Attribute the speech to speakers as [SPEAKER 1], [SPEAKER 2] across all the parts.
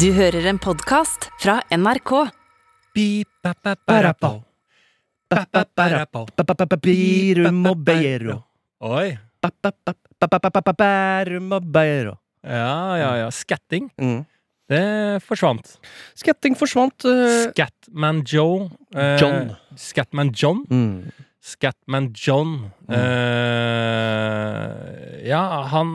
[SPEAKER 1] Du hører en podkast fra NRK.
[SPEAKER 2] Beep, ba, ba, barapo. Ba, ba, barapo.
[SPEAKER 3] Birum og Beiro.
[SPEAKER 2] Oi.
[SPEAKER 3] Bærum og Beiro.
[SPEAKER 2] Ja, ja, ja. Skatting. Det forsvant.
[SPEAKER 3] Skatting forsvant. eh,
[SPEAKER 2] Scatman Joe. eh,
[SPEAKER 3] John.
[SPEAKER 2] Scatman John.
[SPEAKER 3] Mm.
[SPEAKER 2] Scatman John. Eh, ja, han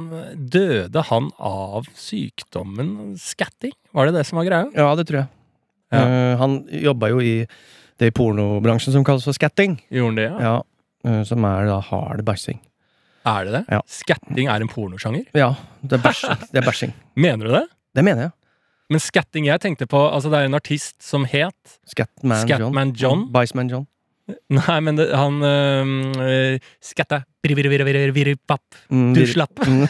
[SPEAKER 2] Døde han av sykdommen skatting? Var det det som var greia?
[SPEAKER 3] Ja, det tror jeg.
[SPEAKER 2] Ja.
[SPEAKER 3] Eh, han jobba jo i det i pornobransjen som kalles for skatting.
[SPEAKER 2] Gjorde han det, ja?
[SPEAKER 3] Ja. eh, som er da hard bæsjing.
[SPEAKER 2] Er det det?
[SPEAKER 3] Ja.
[SPEAKER 2] Skatting er en pornosjanger?
[SPEAKER 3] Ja, det er bæsjing. det er bæsjing.
[SPEAKER 2] Mener du det?
[SPEAKER 3] Det mener jeg.
[SPEAKER 2] Men skatting jeg tenkte på altså Det er en artist som het
[SPEAKER 3] Scatman John.
[SPEAKER 2] Scatman John.
[SPEAKER 3] Biceman John.
[SPEAKER 2] Nei, men det, han øh, skatta Birvirvirvirvirvirpapp.
[SPEAKER 3] Mm,
[SPEAKER 2] Du
[SPEAKER 3] vir-
[SPEAKER 2] slapp.
[SPEAKER 3] Mm.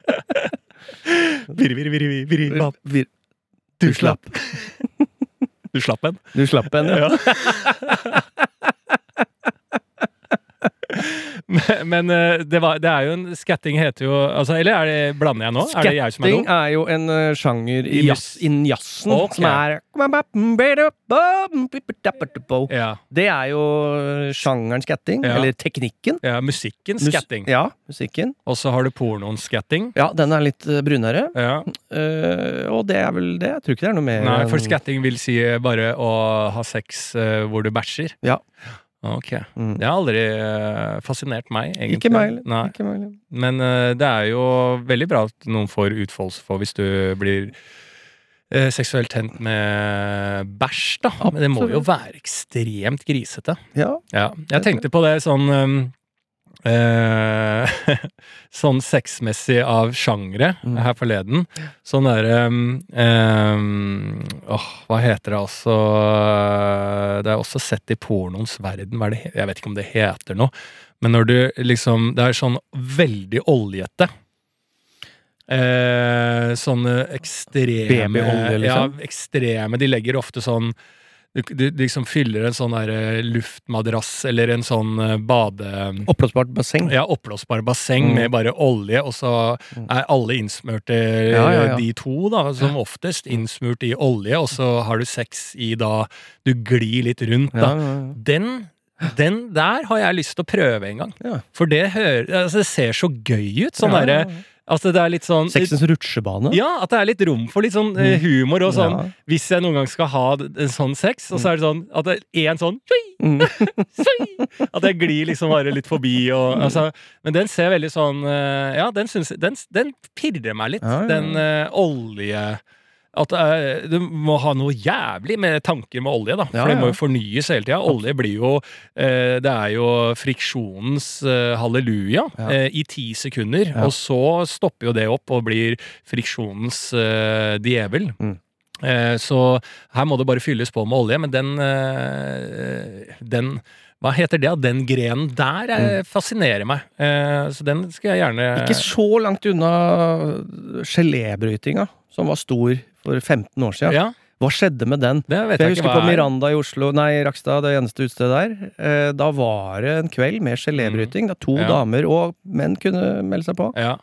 [SPEAKER 2] Birvirvirvirvirpapp.
[SPEAKER 3] vir-
[SPEAKER 2] Du slapp. Du slapp en.
[SPEAKER 3] Du slapp en, ja.
[SPEAKER 2] Ja. Men, men øh, det, var, det er jo en Skatting heter jo altså, Eller er det, blander jeg nå? er det jeg som er
[SPEAKER 3] Skatting
[SPEAKER 2] dum?
[SPEAKER 3] er jo en eh, sjanger i
[SPEAKER 2] Jazz.
[SPEAKER 3] mus- innen jazzen
[SPEAKER 2] Ok.
[SPEAKER 3] som mm, er
[SPEAKER 2] Ja,
[SPEAKER 3] Det er jo eh, sjangeren skatting,
[SPEAKER 2] Ja.
[SPEAKER 3] eller teknikken.
[SPEAKER 2] ja, musikken
[SPEAKER 3] Mus-
[SPEAKER 2] skatting.
[SPEAKER 3] Ja, musikken.
[SPEAKER 2] Og så har du pornoen skatting.
[SPEAKER 3] Ja, den er litt eh, brunere,
[SPEAKER 2] Ja.
[SPEAKER 3] eh, og det er vel det. Jeg tror ikke det er noe mer
[SPEAKER 2] Nei, for
[SPEAKER 3] enn-
[SPEAKER 2] skatting vil si bare å ha sex øh, hvor du bæsjer.
[SPEAKER 3] Ja.
[SPEAKER 2] Ok.
[SPEAKER 3] Mm.
[SPEAKER 2] Det har aldri øh, fascinert meg, egentlig.
[SPEAKER 3] Ikke meg heller.
[SPEAKER 2] Nei.
[SPEAKER 3] Ikke meg heller.
[SPEAKER 2] Men eh, det er jo veldig bra at noen får utfoldelse for hvis du blir eh, seksuelt tent med bæsj, da. Men det må jo
[SPEAKER 3] Absolutt.
[SPEAKER 2] være ekstremt grisete.
[SPEAKER 3] Ja.
[SPEAKER 2] Ja. Jeg tenkte på det sånn eh, eh, Sånn sexmessig av sjangre
[SPEAKER 3] Mm.
[SPEAKER 2] her forleden. Sånn derre Åh, hva heter det altså Det er også sett i pornoens verden, hva er det he- jeg vet ikke om det heter noe. Men når du liksom Det er sånn veldig oljete. Eh, sånne ekstreme
[SPEAKER 3] Babyolje, liksom?
[SPEAKER 2] Ja, ekstreme. De legger ofte sånn du, du liksom fyller en sånn der eh, luftmadrass eller en sånn eh, bade...
[SPEAKER 3] Oppblåsbart basseng.
[SPEAKER 2] Ja, oppblåsbar basseng
[SPEAKER 3] Mm.
[SPEAKER 2] med bare olje, og så
[SPEAKER 3] Mm.
[SPEAKER 2] er alle innsmurt i
[SPEAKER 3] Ja, ja, ja.
[SPEAKER 2] de to, da, som oftest. Innsmurt i olje, og så har du sex i da Du glir litt rundt, da.
[SPEAKER 3] Ja, ja, ja.
[SPEAKER 2] Den, den der har jeg lyst til å prøve en gang.
[SPEAKER 3] Ja.
[SPEAKER 2] For det, hører, altså, det ser så gøy ut. Sånn
[SPEAKER 3] Ja,
[SPEAKER 2] derre
[SPEAKER 3] ja, ja.
[SPEAKER 2] Altså, det er litt sånn
[SPEAKER 3] Sexens rutsjebane.
[SPEAKER 2] Ja, at det er litt rom for litt sånn eh, humor og sånn.
[SPEAKER 3] Ja.
[SPEAKER 2] Hvis jeg noen gang skal ha d- en sånn sex, og så er det sånn at det er én sånn tjui,
[SPEAKER 3] Mm.
[SPEAKER 2] tjui, At jeg glir liksom bare litt forbi og altså, Men den ser veldig sånn eh, Ja, den syns Den, den pirrer meg litt.
[SPEAKER 3] Ja, ja, ja.
[SPEAKER 2] Den eh, olje... At eh, du må ha noe jævlig med tanker med olje, da. For
[SPEAKER 3] Ja,
[SPEAKER 2] det må
[SPEAKER 3] ja.
[SPEAKER 2] jo fornyes hele tida. Olje blir jo eh, Det er jo friksjonens eh, halleluja
[SPEAKER 3] Ja.
[SPEAKER 2] eh, i ti sekunder.
[SPEAKER 3] Ja.
[SPEAKER 2] Og så stopper jo det opp og blir friksjonens eh, djevel.
[SPEAKER 3] Mm.
[SPEAKER 2] Eh, så her må det bare fylles på med olje, men den eh, Den Hva heter det? Den grenen der eh, fascinerer meg. Eh, så den skal jeg gjerne
[SPEAKER 3] Mm. Ikke så langt unna gelébrytinga, som var stor for 15 år siden.
[SPEAKER 2] ja,
[SPEAKER 3] Hva skjedde med den?
[SPEAKER 2] det vet
[SPEAKER 3] For
[SPEAKER 2] jeg,
[SPEAKER 3] jeg
[SPEAKER 2] ikke
[SPEAKER 3] husker
[SPEAKER 2] hva
[SPEAKER 3] på
[SPEAKER 2] er.
[SPEAKER 3] Miranda i Oslo, nei, Rakstad, det eneste utstedet der. Eh, da var det en kveld med gelébryting. Da to
[SPEAKER 2] Mm. Ja.
[SPEAKER 3] damer og menn kunne melde seg på.
[SPEAKER 2] Ja,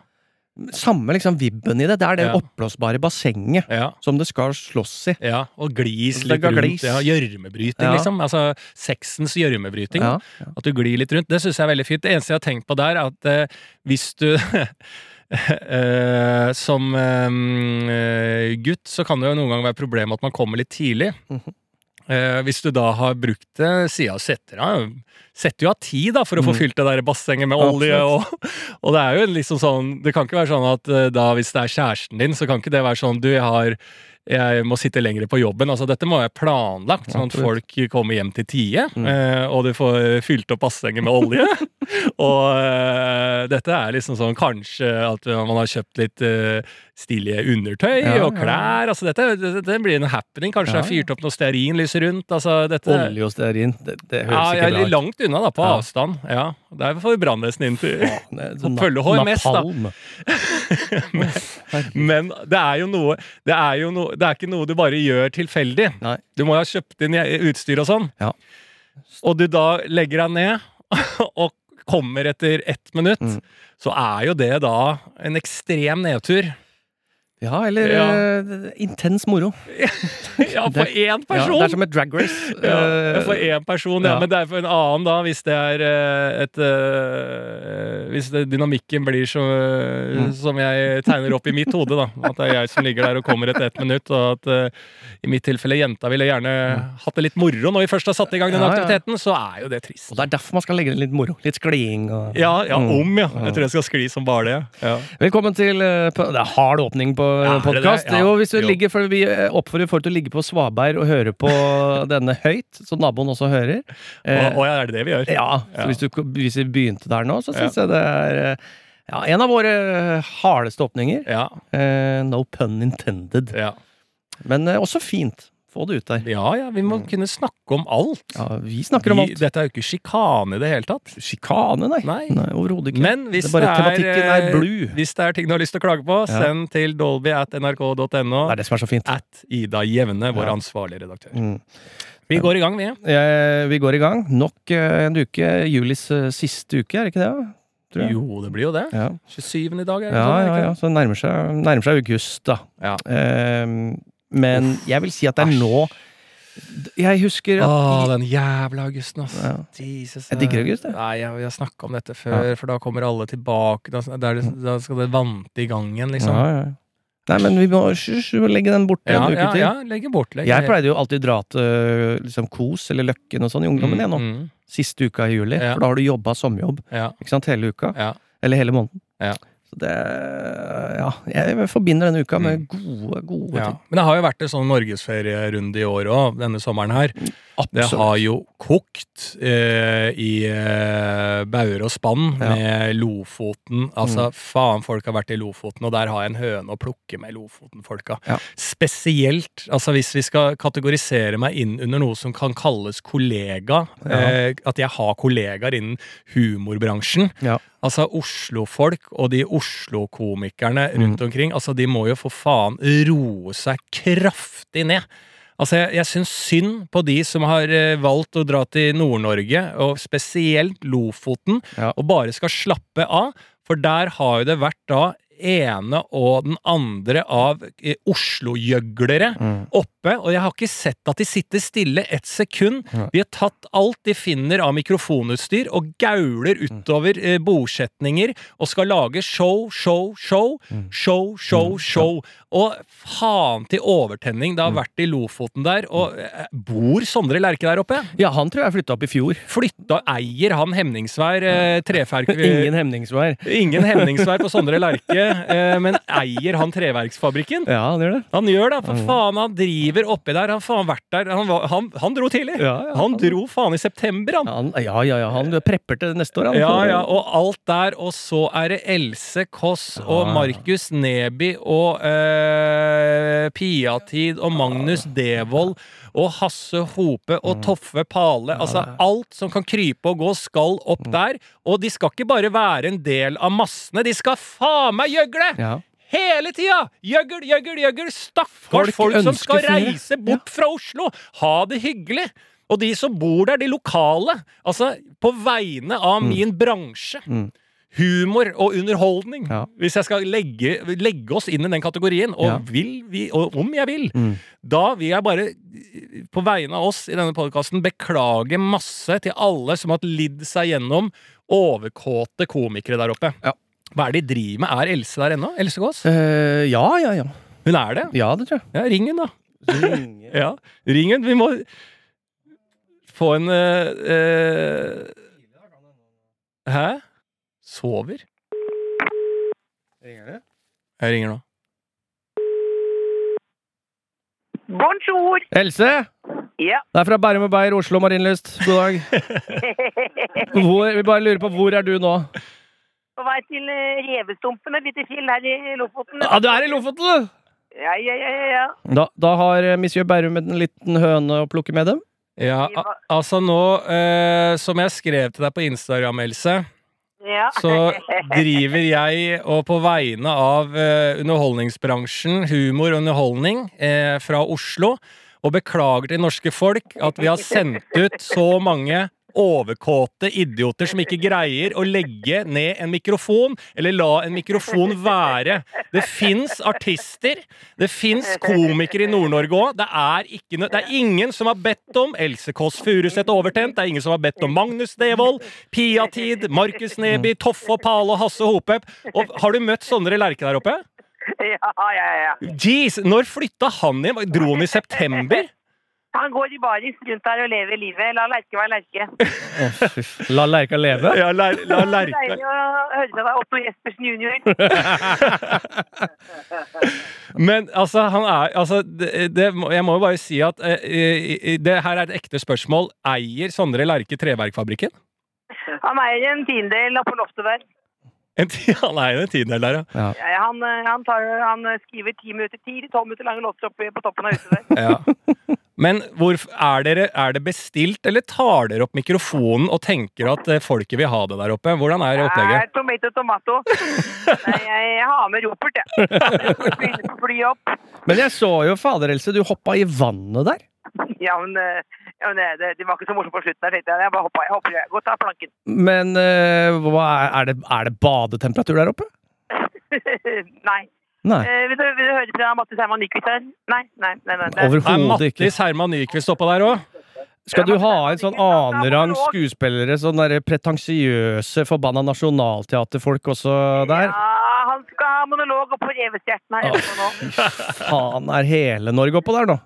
[SPEAKER 3] Samme liksom vibben i det. Det er det
[SPEAKER 2] Ja.
[SPEAKER 3] oppblåsbare bassenget
[SPEAKER 2] ja.
[SPEAKER 3] som det skal slåss i.
[SPEAKER 2] Ja, og glis
[SPEAKER 3] Det
[SPEAKER 2] litt
[SPEAKER 3] ga
[SPEAKER 2] rundt.
[SPEAKER 3] glis.
[SPEAKER 2] Ja, gjørmebryting,
[SPEAKER 3] Ja.
[SPEAKER 2] liksom. Altså sexens gjørmebryting.
[SPEAKER 3] Ja.
[SPEAKER 2] At du glir litt rundt. Det syns jeg er veldig fint. Det eneste jeg har tenkt på der, er at eh, hvis du eh, Som eh, gutt så kan det jo noen ganger være problem at man kommer litt tidlig.
[SPEAKER 3] Mhm.
[SPEAKER 2] Eh, hvis du da har brukt det sida setter av Setter jo av tid da for å få
[SPEAKER 3] Mm.
[SPEAKER 2] fylt det der bassenget med olje. Og, og det er jo liksom sånn Det kan ikke være sånn at eh, da hvis det er kjæresten din, så kan ikke det være sånn Du, jeg har jeg må sitte lenger på jobben. Altså, dette må være planlagt, sånn at
[SPEAKER 3] Absolutt.
[SPEAKER 2] folk kommer hjem til tide.
[SPEAKER 3] Mm.
[SPEAKER 2] eh, Og du får fylt opp bassenget med olje. og eh, dette er liksom sånn kanskje at man har kjøpt litt eh, stilige undertøy
[SPEAKER 3] Ja,
[SPEAKER 2] og
[SPEAKER 3] ja.
[SPEAKER 2] klær. Altså, dette, dette, dette blir en happening. Kanskje
[SPEAKER 3] Ja,
[SPEAKER 2] det er fyrt opp noe stearinlys rundt. Altså, dette,
[SPEAKER 3] Olje og stearin, det, det
[SPEAKER 2] ja,
[SPEAKER 3] høres
[SPEAKER 2] jeg er
[SPEAKER 3] ikke
[SPEAKER 2] litt
[SPEAKER 3] bra ut.
[SPEAKER 2] langt unna, da, på
[SPEAKER 3] Ja.
[SPEAKER 2] avstand. Ja, Der får brannvesenet inn til
[SPEAKER 3] Faen, det er sånn
[SPEAKER 2] Følge
[SPEAKER 3] nap-
[SPEAKER 2] HMS, da.
[SPEAKER 3] napalm. Herregud.
[SPEAKER 2] Men det er jo noe Det er jo noe, det er ikke noe du bare gjør tilfeldig.
[SPEAKER 3] Nei.
[SPEAKER 2] Du må jo ha kjøpt inn utstyr og sånn.
[SPEAKER 3] Ja.
[SPEAKER 2] Og du da legger deg ned og kommer etter ett minutt,
[SPEAKER 3] Mm.
[SPEAKER 2] så er jo det da en ekstrem nedtur.
[SPEAKER 3] Ja, eller
[SPEAKER 2] Ja.
[SPEAKER 3] eh, intens moro.
[SPEAKER 2] Ja, for én
[SPEAKER 3] Ja,
[SPEAKER 2] person!
[SPEAKER 3] det er som et drag race.
[SPEAKER 2] Ja,
[SPEAKER 3] Eh,
[SPEAKER 2] for én person, ja.
[SPEAKER 3] ja.
[SPEAKER 2] Men det er for en annen, da, hvis det er eh, et eh, Hvis det, dynamikken blir så,
[SPEAKER 3] Mm.
[SPEAKER 2] som jeg tegner opp i mitt hode, da. At det er jeg som ligger der og kommer etter ett minutt. Og at eh, i mitt tilfelle jenta ville gjerne hatt det litt moro når vi først har satt i gang den
[SPEAKER 3] Mm. Ja, ja.
[SPEAKER 2] aktiviteten, så er jo det
[SPEAKER 3] og
[SPEAKER 2] trist.
[SPEAKER 3] det er derfor man skal legge inn litt moro. Litt skliing og
[SPEAKER 2] Ja, ja,
[SPEAKER 3] Mm.
[SPEAKER 2] om, ja. Jeg tror jeg skal skli som bare det. Ja.
[SPEAKER 3] Velkommen til eh, på- Det er hard åpning på
[SPEAKER 2] Ja, er det
[SPEAKER 3] podkast.
[SPEAKER 2] det? Ja.
[SPEAKER 3] Jo, hvis du
[SPEAKER 2] Jo.
[SPEAKER 3] ligger for Vi eh, oppfordrer folk til å ligge på svaberg og høre på denne høyt, så naboen også hører. Eh,
[SPEAKER 2] Og, og ja, er det det vi gjør?
[SPEAKER 3] Ja, så
[SPEAKER 2] Ja.
[SPEAKER 3] hvis, du, hvis vi begynte der nå, så syns jeg det er eh, ja, en av våre eh, hardeste åpninger.
[SPEAKER 2] Ja.
[SPEAKER 3] Eh, no pun intended.
[SPEAKER 2] Ja.
[SPEAKER 3] Men eh, også fint. Få det ut der.
[SPEAKER 2] ja ja, vi må kunne snakke om alt.
[SPEAKER 3] Mm. Ja, vi snakker om
[SPEAKER 2] Vi-
[SPEAKER 3] alt.
[SPEAKER 2] Dette er jo ikke sjikane i det hele tatt.
[SPEAKER 3] Sjikane, nei.
[SPEAKER 2] Nei.
[SPEAKER 3] Nei, Overhodet ikke.
[SPEAKER 2] Men hvis
[SPEAKER 3] det
[SPEAKER 2] det,
[SPEAKER 3] er bare
[SPEAKER 2] er,
[SPEAKER 3] tematikken
[SPEAKER 2] eh,
[SPEAKER 3] er blue.
[SPEAKER 2] hvis det er ting du har lyst til å klage på,
[SPEAKER 3] Ja.
[SPEAKER 2] send til dolby at nrk.no.
[SPEAKER 3] Det er det som er så fint.
[SPEAKER 2] At Ida Jevne, vår
[SPEAKER 3] Ja.
[SPEAKER 2] ansvarlige redaktør.
[SPEAKER 3] Mm.
[SPEAKER 2] Vi går i gang, vi.
[SPEAKER 3] Eh, vi går i gang. Nok eh, en uke. Julis eh, siste uke, er det ikke det? da? Tror jeg.
[SPEAKER 2] Jo, det blir jo det.
[SPEAKER 3] Ja.
[SPEAKER 2] 27. i dag, er det
[SPEAKER 3] Ja,
[SPEAKER 2] sånn,
[SPEAKER 3] ja,
[SPEAKER 2] er det
[SPEAKER 3] ja. Så det nærmer seg, nærmer seg august, da.
[SPEAKER 2] Ja.
[SPEAKER 3] Eh, men jeg vil si at det er
[SPEAKER 2] Æsj.
[SPEAKER 3] nå Jeg husker
[SPEAKER 2] ikke?
[SPEAKER 3] at
[SPEAKER 2] Å, den jævla augusten, ass.
[SPEAKER 3] Ja.
[SPEAKER 2] Jesus. eh.
[SPEAKER 3] Jeg digger august, jeg.
[SPEAKER 2] Nei, ja, vi har snakka om dette før, for da kommer alle tilbake. Da, da, er det, da skal det vante i gangen, liksom.
[SPEAKER 3] Mm. Ja, ja. Nei, men vi må sj- sj- legge den borte
[SPEAKER 2] Ja,
[SPEAKER 3] en uke
[SPEAKER 2] ja,
[SPEAKER 3] til.
[SPEAKER 2] ja, legge bort. Legge
[SPEAKER 3] Jeg pleide jo alltid å dra til liksom, Kos eller Løkken og sånn i ungdommen jeg, nå.
[SPEAKER 2] Mm,
[SPEAKER 3] Siste uka i juli.
[SPEAKER 2] Ja.
[SPEAKER 3] For da har du jobba sommerjobb
[SPEAKER 2] ja,
[SPEAKER 3] ikke sant, hele uka.
[SPEAKER 2] ja.
[SPEAKER 3] Eller hele måneden.
[SPEAKER 2] Ja.
[SPEAKER 3] Så det Ja, jeg forbinder denne uka med
[SPEAKER 2] Mm.
[SPEAKER 3] gode, gode
[SPEAKER 2] ja.
[SPEAKER 3] ting.
[SPEAKER 2] Men det har jo vært en sånn norgesferierunde i år òg, denne sommeren her. Det
[SPEAKER 3] Absolutt.
[SPEAKER 2] har jo kokt eh, i eh, bauger og spann
[SPEAKER 3] Ja. Mm.
[SPEAKER 2] med Lofoten. Altså, faen, folk har vært i Lofoten, og der har jeg en høne å plukke med Lofoten-folka.
[SPEAKER 3] Ja.
[SPEAKER 2] Spesielt altså, hvis vi skal kategorisere meg inn under noe som kan kalles kollega.
[SPEAKER 3] Ja.
[SPEAKER 2] Eh, at jeg har kollegaer innen humorbransjen.
[SPEAKER 3] Ja.
[SPEAKER 2] Altså Oslo-folk og de Oslo-komikerne rundt omkring, altså de må jo for faen roe seg kraftig ned. Altså, jeg, jeg syns synd på de som har eh, valgt å dra til Nord-Norge, og spesielt Lofoten,
[SPEAKER 3] Ja.
[SPEAKER 2] og bare skal slappe av, for der har jo det vært da ene og den andre av eh, Oslo-gjøglere
[SPEAKER 3] Mm.
[SPEAKER 2] oppe, og jeg har ikke sett at de sitter stille et sekund.
[SPEAKER 3] Nei.
[SPEAKER 2] De har tatt alt de finner av mikrofonutstyr og gauler
[SPEAKER 3] Mm.
[SPEAKER 2] utover eh, bosetninger og skal lage show, show, show,
[SPEAKER 3] Mm.
[SPEAKER 2] show, show,
[SPEAKER 3] Mm,
[SPEAKER 2] show. Og faen til overtenning det har vært i Lofoten der,
[SPEAKER 3] Mm.
[SPEAKER 2] og eh, bor Sondre Lerche der oppe?
[SPEAKER 3] Ja, han tror jeg flytta opp i fjor.
[SPEAKER 2] Flytta, eier han Hemningsvær eh, treferk...
[SPEAKER 3] Ingen hemningsvær.
[SPEAKER 2] Ingen Hemningsvær på Sondre Lerche, eh, men eier han treverksfabrikken?
[SPEAKER 3] Ja, han gjør det.
[SPEAKER 2] Han gjør det, for
[SPEAKER 3] Mhm.
[SPEAKER 2] faen, han driver oppi der. Han faen vært der. Han, var, han, han dro tidlig.
[SPEAKER 3] Ja, ja,
[SPEAKER 2] Han dro faen i september, han.
[SPEAKER 3] han, ja, ja, ja, han prepper til neste år, han.
[SPEAKER 2] Ja,
[SPEAKER 3] Så-
[SPEAKER 2] ja, og alt der, og så er det Else Kåss og
[SPEAKER 3] Ja.
[SPEAKER 2] Markus Neby og eh, Piatid og Magnus Devold og Hasse Hope
[SPEAKER 3] Mm.
[SPEAKER 2] og Toffe Pale. Altså, alt som kan krype og gå, skal
[SPEAKER 3] Mm.
[SPEAKER 2] opp der. Og de skal ikke bare være en del av massene, de skal faen meg gjøgle!
[SPEAKER 3] Ja.
[SPEAKER 2] Hele tida! Gjøgl, gjøgl, gjøgl! Stakkars
[SPEAKER 3] Folk
[SPEAKER 2] folk, som
[SPEAKER 3] ønsker
[SPEAKER 2] skal
[SPEAKER 3] ferie.
[SPEAKER 2] reise bort fra Oslo! Ha det hyggelig! Og de som bor der, de lokale. Altså, på vegne av min bransje.
[SPEAKER 3] Mm.
[SPEAKER 2] Humor og underholdning.
[SPEAKER 3] Ja.
[SPEAKER 2] Hvis jeg skal legge, legge oss inn i den kategorien, og
[SPEAKER 3] Ja.
[SPEAKER 2] vil vi, og om jeg vil,
[SPEAKER 3] Mm.
[SPEAKER 2] da vil jeg bare, på vegne av oss i denne podkasten, beklage masse til alle som har lidd seg gjennom overkåte komikere der oppe.
[SPEAKER 3] Ja.
[SPEAKER 2] Hva er det de driver med? Er Else der ennå? Else Gås?
[SPEAKER 3] Eh, ja, ja, ja.
[SPEAKER 2] Hun er det?
[SPEAKER 3] Ja, det tror jeg.
[SPEAKER 2] Ja, ring hun, da. Ja, ring hun. Vi må få en eh, eh, Hæ? Sover?
[SPEAKER 3] Ringer det?
[SPEAKER 2] Jeg ringer nå.
[SPEAKER 4] Bonjour!
[SPEAKER 3] Else!
[SPEAKER 4] Ja.
[SPEAKER 3] Det er fra Bærum og Beyer, Oslo Marienlyst. God dag. Hvor, vi bare lurer på, hvor er du nå?
[SPEAKER 4] På vei til eh, Revestumpen, et lite fjell her i Lofoten.
[SPEAKER 3] Ja, du er i Lofoten!
[SPEAKER 4] Ja, ja, ja, ja, ja.
[SPEAKER 3] Da, da har eh, monsieur Bærum en liten høne å plukke med dem.
[SPEAKER 2] Ja, al- altså nå, eh, som jeg skrev til deg på Instagram, Else,
[SPEAKER 4] ja.
[SPEAKER 2] så driver jeg og på vegne av eh, underholdningsbransjen, humor og underholdning, eh, fra Oslo, og beklager til norske folk at vi har sendt ut så mange overkåte idioter som ikke greier å legge ned en mikrofon, eller la en mikrofon være. Det fins artister, det fins komikere i Nord-Norge òg. Det, er ikke nø- det er ingen som har bedt om Else Kåss Furuseth Overtent, det er ingen som har bedt om Magnus Devold, Piatid, Markus Neby, Toffe og Pale og Hasse Hope. Og har du møtt Sondre Lerche der oppe?
[SPEAKER 4] Ja, ja, ja.
[SPEAKER 2] Jeez, når flytta han hjem? Dro han i september?
[SPEAKER 4] Han går i baris rundt her og lever livet. La Lerke være Lerke.
[SPEAKER 3] Å, fy f- La lerka leve.
[SPEAKER 2] Ja, la, la Lerche
[SPEAKER 4] Deilig å høre fra deg, Otto Jespersen jr.
[SPEAKER 2] Men altså, han er altså, det, det, må- Jeg må jo bare si at eh, i- i- det her er et ekte spørsmål. Eier Sondre Lerche Treverkfabrikken?
[SPEAKER 4] Han eier en tiendedel av på loftet der.
[SPEAKER 2] En ti- Han eier en tiendedel der, ja.
[SPEAKER 4] Ja, ja, han, eh, han, tar, han eh, skriver ti minutter, ti til tolv minutter lange låter oppe på toppen av huset der.
[SPEAKER 2] Men hvorf- er, dere, er det bestilt, eller tar dere opp mikrofonen og tenker at eh, folket vil ha det der oppe? Hvordan er
[SPEAKER 4] Nei,
[SPEAKER 2] opplegget?
[SPEAKER 4] tomato, tomato. Nei, jeg har med ropert, jeg. Ropert begynner på flyet opp.
[SPEAKER 3] Men jeg så jo, fader Else, du hoppa i vannet der.
[SPEAKER 4] Ja, men, eh, ja, men det, det var ikke så morsomt på slutten. der, tenkte Jeg Jeg bare hoppa. Jeg hopper, jeg. Godt av planken.
[SPEAKER 3] Men eh, hva er, er, det, er det badetemperatur der oppe?
[SPEAKER 4] nei.
[SPEAKER 3] Nei.
[SPEAKER 4] Eh, vil, du, vil du høre fra Mattis Herman Nyquist her? Nei, nei, nei. nei, nei.
[SPEAKER 2] Er
[SPEAKER 3] Overhodet ikke.
[SPEAKER 2] Mattis Herman Nyquist oppå der òg?
[SPEAKER 3] Skal du ha inn sånn annenrang
[SPEAKER 4] Ja,
[SPEAKER 3] skuespillere, sånn derre pretensiøse, forbanna nasjonalteaterfolk også der?
[SPEAKER 4] Ja, han skal ha monolog oppå revestjerten
[SPEAKER 3] Ah.
[SPEAKER 4] her. etterpå nå.
[SPEAKER 3] Faen, er hele Norge oppå der nå?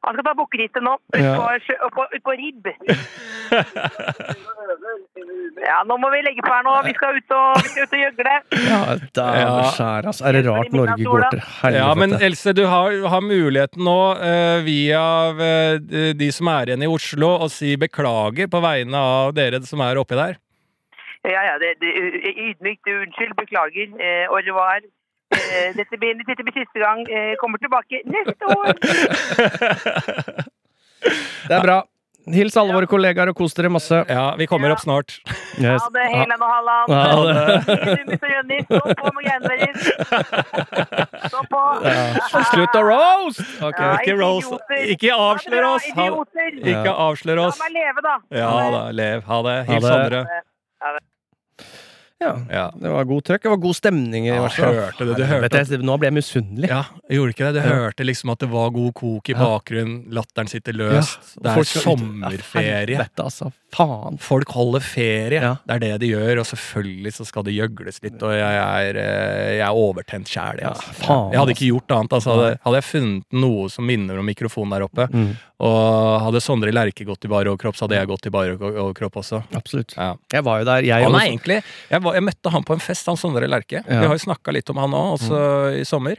[SPEAKER 4] Han skal ta bukkerittet nå.
[SPEAKER 3] Ja.
[SPEAKER 4] Utpå sjø- oppå- utpå ribb. Ja, nå må vi legge på her nå. Vi skal ut og, vi skal ut og gjøgle.
[SPEAKER 3] Ja, dæven
[SPEAKER 2] Ja.
[SPEAKER 3] skjær, altså. Er det rart Norge går til helvete?
[SPEAKER 2] Ja, men Else, du har, har muligheten nå eh, via eh, de som er igjen i Oslo, å si beklager på vegne av dere som er oppi der.
[SPEAKER 4] Ja, ja, det, det, ydmykt. Unnskyld, beklager. Eh, au revoir. Eh, dette, blir, dette blir siste gang. Eh, kommer tilbake neste år.
[SPEAKER 3] Det er bra. Hils alle våre kollegaer og kos dere masse.
[SPEAKER 2] Ja, vi kommer opp snart.
[SPEAKER 3] Yes.
[SPEAKER 4] Ha det, Helene og Halland.
[SPEAKER 3] Ha
[SPEAKER 4] Tumis og Jonny, stå på med greiene deres. Stå på.
[SPEAKER 3] Slutt å roast! Ok.
[SPEAKER 4] Ja,
[SPEAKER 2] Ikke roast.
[SPEAKER 4] idioter.
[SPEAKER 2] Ikke avslør
[SPEAKER 4] Ha
[SPEAKER 2] oss!
[SPEAKER 4] det
[SPEAKER 2] Ha,
[SPEAKER 4] bra, Idioter!
[SPEAKER 2] ikke avslør
[SPEAKER 4] La
[SPEAKER 2] oss.
[SPEAKER 4] meg leve, da.
[SPEAKER 2] Ja da, lev. Ha det. Hils
[SPEAKER 3] Ha det.
[SPEAKER 2] Sondre.
[SPEAKER 3] Ja.
[SPEAKER 2] Ja.
[SPEAKER 3] Det var god trøkk. Det var god stemning. i
[SPEAKER 2] Ja,
[SPEAKER 3] hvert fall.
[SPEAKER 2] hørte det, du
[SPEAKER 3] Helvete,
[SPEAKER 2] hørte
[SPEAKER 3] jeg- Nå ble jeg misunnelig.
[SPEAKER 2] Ja, gjorde ikke det? Du hørte liksom at det var god kok i bakgrunnen, latteren sitter løst.
[SPEAKER 3] Ja,
[SPEAKER 2] Det er
[SPEAKER 3] folk skal ut- Ja,
[SPEAKER 2] sommerferie.
[SPEAKER 3] Helvete, altså. Faen.
[SPEAKER 2] Folk holder ferie.
[SPEAKER 3] Ja.
[SPEAKER 2] Det er det de gjør, og selvfølgelig så skal det gjøgles litt. Og jeg er, eh, jeg er overtent sjæl. jeg,
[SPEAKER 3] Ja,
[SPEAKER 2] Altså.
[SPEAKER 3] faen,
[SPEAKER 2] jeg hadde ikke gjort annet. Altså. Hadde, hadde jeg funnet noe som minner om mikrofonen der oppe,
[SPEAKER 3] Mm.
[SPEAKER 2] og hadde Sondre Lerche gått i bare overkropp, så hadde jeg gått i bare over- overkropp også.
[SPEAKER 3] Absolutt.
[SPEAKER 2] Ja.
[SPEAKER 3] Jeg var jo der, jeg
[SPEAKER 2] Han er
[SPEAKER 3] også.
[SPEAKER 2] egentlig, jeg, var, jeg møtte han på en fest, han Sondre Lerche.
[SPEAKER 3] Ja. Mm.
[SPEAKER 2] Vi har jo snakka litt om han òg, også altså, i sommer.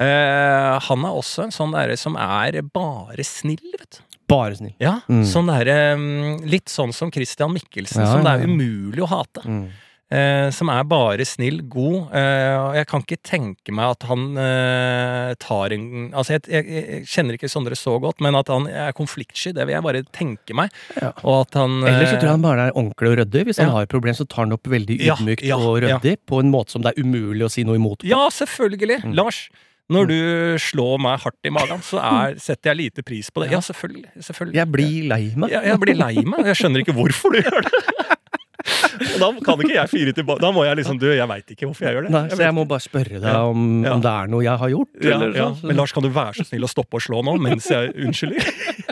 [SPEAKER 2] Eh, han er også en sånn derre som er bare snill, vet du.
[SPEAKER 3] Bare snill.
[SPEAKER 2] Ja,
[SPEAKER 3] Mm.
[SPEAKER 2] sånn der, eh, litt sånn som Christian Mikkelsen,
[SPEAKER 3] Ja,
[SPEAKER 2] som det
[SPEAKER 3] ja,
[SPEAKER 2] er
[SPEAKER 3] ja.
[SPEAKER 2] umulig å hate. Eh, som er bare snill, god. Eh, og jeg kan ikke tenke meg at han eh, tar en Altså, jeg, jeg, jeg kjenner ikke Sondre så godt, men at han er konfliktsky, det vil jeg bare tenke meg.
[SPEAKER 3] Ja.
[SPEAKER 2] Og at han
[SPEAKER 3] Ellers så tror jeg han bare er ordentlig og ryddig. Hvis han
[SPEAKER 2] Eh, Ja.
[SPEAKER 3] har et problem, så tar han det opp veldig
[SPEAKER 2] Ja,
[SPEAKER 3] ydmykt
[SPEAKER 2] ja,
[SPEAKER 3] og
[SPEAKER 2] ja.
[SPEAKER 3] ryddig på en måte som det er umulig å si noe imot. på.
[SPEAKER 2] eh, Ja, selvfølgelig!
[SPEAKER 3] Mm.
[SPEAKER 2] Lars. Når du slår meg hardt i magen, så er, setter jeg lite pris på det. Ja, selvfølgelig. selvfølgelig.
[SPEAKER 3] Jeg blir lei meg.
[SPEAKER 2] jeg, jeg blir lei meg. og Jeg skjønner ikke hvorfor du gjør det. Og da kan ikke jeg fyre tilbake. Da må jeg liksom Du, jeg veit ikke hvorfor jeg gjør det.
[SPEAKER 3] Nei,
[SPEAKER 2] Jeg
[SPEAKER 3] så
[SPEAKER 2] vet
[SPEAKER 3] jeg må bare spørre deg
[SPEAKER 2] Ja.
[SPEAKER 3] om,
[SPEAKER 2] Ja.
[SPEAKER 3] om det er noe jeg har gjort.
[SPEAKER 2] ikke. ja,
[SPEAKER 3] eller
[SPEAKER 2] ja.
[SPEAKER 3] sånn.
[SPEAKER 2] Men Lars, kan du være så snill å stoppe å slå nå mens jeg unnskylder?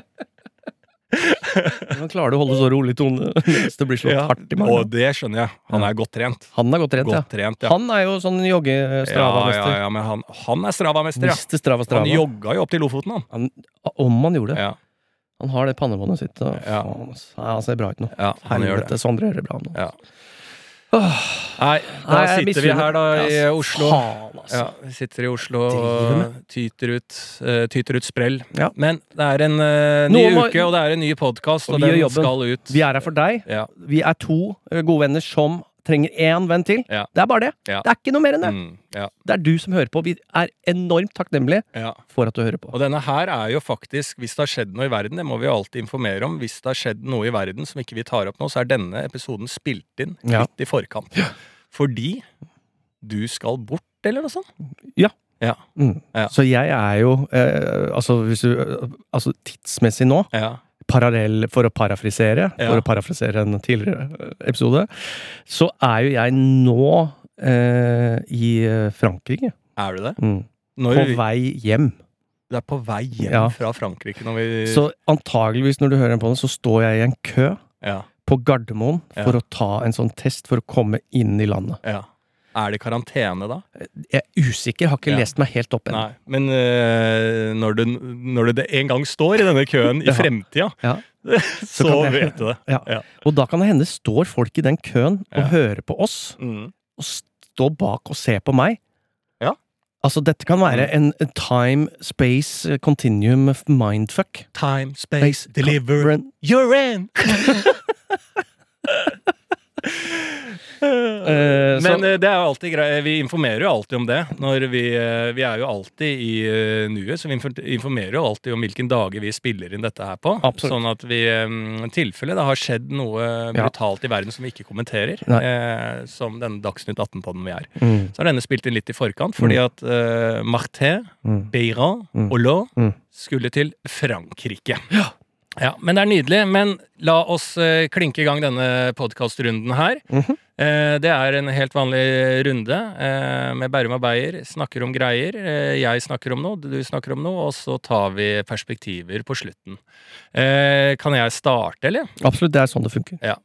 [SPEAKER 3] Men klarer du å holde så rolig tone mens det blir slått
[SPEAKER 2] Ja.
[SPEAKER 3] hardt i
[SPEAKER 2] Og
[SPEAKER 3] magen?
[SPEAKER 2] det skjønner jeg. Han er godt trent.
[SPEAKER 3] Han er godt trent, ja.
[SPEAKER 2] Godt trent, ja.
[SPEAKER 3] Han er jo sånn
[SPEAKER 2] Ja, ja,
[SPEAKER 3] jogge-strava-mester.
[SPEAKER 2] ja, men han, han er Strava-mester, ja.
[SPEAKER 3] Mister strava
[SPEAKER 2] Han
[SPEAKER 3] strava.
[SPEAKER 2] jogga jo opp til Lofoten, han.
[SPEAKER 3] Han, om han gjorde det.
[SPEAKER 2] Ja,
[SPEAKER 3] Han har det pannebåndet sitt. Og,
[SPEAKER 2] Ja.
[SPEAKER 3] faen, altså. Nei, han ser bra ut nå.
[SPEAKER 2] ja han gjør det.
[SPEAKER 3] Helvete, Sondre gjør det bra nå.
[SPEAKER 2] Ja. Nei, da
[SPEAKER 3] Nei, jeg
[SPEAKER 2] sitter vi
[SPEAKER 3] misunner-
[SPEAKER 2] her, da, i
[SPEAKER 3] Ja,
[SPEAKER 2] Oslo.
[SPEAKER 3] Faen, altså.
[SPEAKER 2] Ja, vi sitter i Oslo
[SPEAKER 3] driver
[SPEAKER 2] og tyter ut, eh, tyter ut sprell.
[SPEAKER 3] Ja.
[SPEAKER 2] Men det er en eh, ny
[SPEAKER 3] Noe må-
[SPEAKER 2] uke, og det er en ny podkast,
[SPEAKER 3] Og
[SPEAKER 2] og,
[SPEAKER 3] vi
[SPEAKER 2] den
[SPEAKER 3] gjør jobben.
[SPEAKER 2] skal ut.
[SPEAKER 3] Vi er her for deg.
[SPEAKER 2] Ja.
[SPEAKER 3] Vi er to eh, gode venner som trenger én venn til.
[SPEAKER 2] Ja.
[SPEAKER 3] Det er bare det.
[SPEAKER 2] Ja.
[SPEAKER 3] Det er ikke noe mer enn det.
[SPEAKER 2] Mm, ja,
[SPEAKER 3] Det er du som hører på. Vi er enormt takknemlige
[SPEAKER 2] ja.
[SPEAKER 3] for at du hører på.
[SPEAKER 2] Og denne her er jo faktisk, hvis det har skjedd noe i verden, det må vi jo alltid informere om, hvis det har skjedd noe i verden som ikke vi tar opp nå, så er denne episoden spilt inn
[SPEAKER 3] Ja.
[SPEAKER 2] litt i forkant. Fordi du skal bort, eller noe sånt?
[SPEAKER 3] Mm.
[SPEAKER 2] Ja.
[SPEAKER 3] Så jeg er jo eh, altså, hvis du, altså eh, tidsmessig nå
[SPEAKER 2] Ja.
[SPEAKER 3] parallell For å parafrisere
[SPEAKER 2] Ja.
[SPEAKER 3] For å parafrisere en tidligere eh, episode, så er jo jeg nå eh, i Frankrike.
[SPEAKER 2] Er du det?
[SPEAKER 3] Mm.
[SPEAKER 2] Når
[SPEAKER 3] På
[SPEAKER 2] vi,
[SPEAKER 3] vei hjem.
[SPEAKER 2] det er på vei hjem
[SPEAKER 3] Ja.
[SPEAKER 2] fra Frankrike når vi
[SPEAKER 3] Så antageligvis når du hører på det, så står jeg i en kø
[SPEAKER 2] ja,
[SPEAKER 3] på Gardermoen
[SPEAKER 2] Ja.
[SPEAKER 3] for å ta en sånn test for å komme inn i landet.
[SPEAKER 2] ja. Er det karantene da?
[SPEAKER 3] Jeg er usikker, har ikke
[SPEAKER 2] Ja.
[SPEAKER 3] lest meg helt opp ennå.
[SPEAKER 2] Nei. Men øh, når, du, når du det en gang står i denne køen i
[SPEAKER 3] Ja.
[SPEAKER 2] fremtida,
[SPEAKER 3] Ja.
[SPEAKER 2] så,
[SPEAKER 3] kan jeg-
[SPEAKER 2] vet du det.
[SPEAKER 3] Og da kan det hende står folk i den køen og
[SPEAKER 2] Ja.
[SPEAKER 3] hører på oss,
[SPEAKER 2] Mm.
[SPEAKER 3] og står bak og ser på meg.
[SPEAKER 2] Ja.
[SPEAKER 3] Altså, dette kan være en time, space, eh, continuum, of mindfuck.
[SPEAKER 2] Time, space, deliver,
[SPEAKER 3] Con-
[SPEAKER 2] you're in!
[SPEAKER 3] Eh, så,
[SPEAKER 2] Men eh, det er jo alltid grei- vi informerer jo alltid om det. Når vi, eh, vi er jo alltid i eh, nuet, så vi infor- informerer jo alltid om hvilken dager vi spiller inn dette her på.
[SPEAKER 3] Absolutt.
[SPEAKER 2] Sånn at vi eh, i tilfelle det har skjedd noe
[SPEAKER 3] Ja.
[SPEAKER 2] brutalt i verden som vi ikke kommenterer,
[SPEAKER 3] Nei.
[SPEAKER 2] eh, som denne Dagsnytt 18-podden vi er.
[SPEAKER 3] mm,
[SPEAKER 2] Så er denne spilt inn litt i forkant, fordi at eh, Marté,
[SPEAKER 3] mm.
[SPEAKER 2] Beiran
[SPEAKER 3] Mm.
[SPEAKER 2] og Laud
[SPEAKER 3] Mm.
[SPEAKER 2] skulle til Frankrike. Ja. Men det er nydelig. Men la oss eh, klinke i gang denne podkastrunden her.
[SPEAKER 3] Mhm.
[SPEAKER 2] Eh, det er en helt vanlig runde eh, med Bærum og Beyer. Snakker om greier. Eh, jeg snakker om noe, du snakker om noe, og så tar vi perspektiver på slutten. Eh, kan jeg starte, eller?
[SPEAKER 3] Absolutt, det er sånn det funker.
[SPEAKER 2] Eh,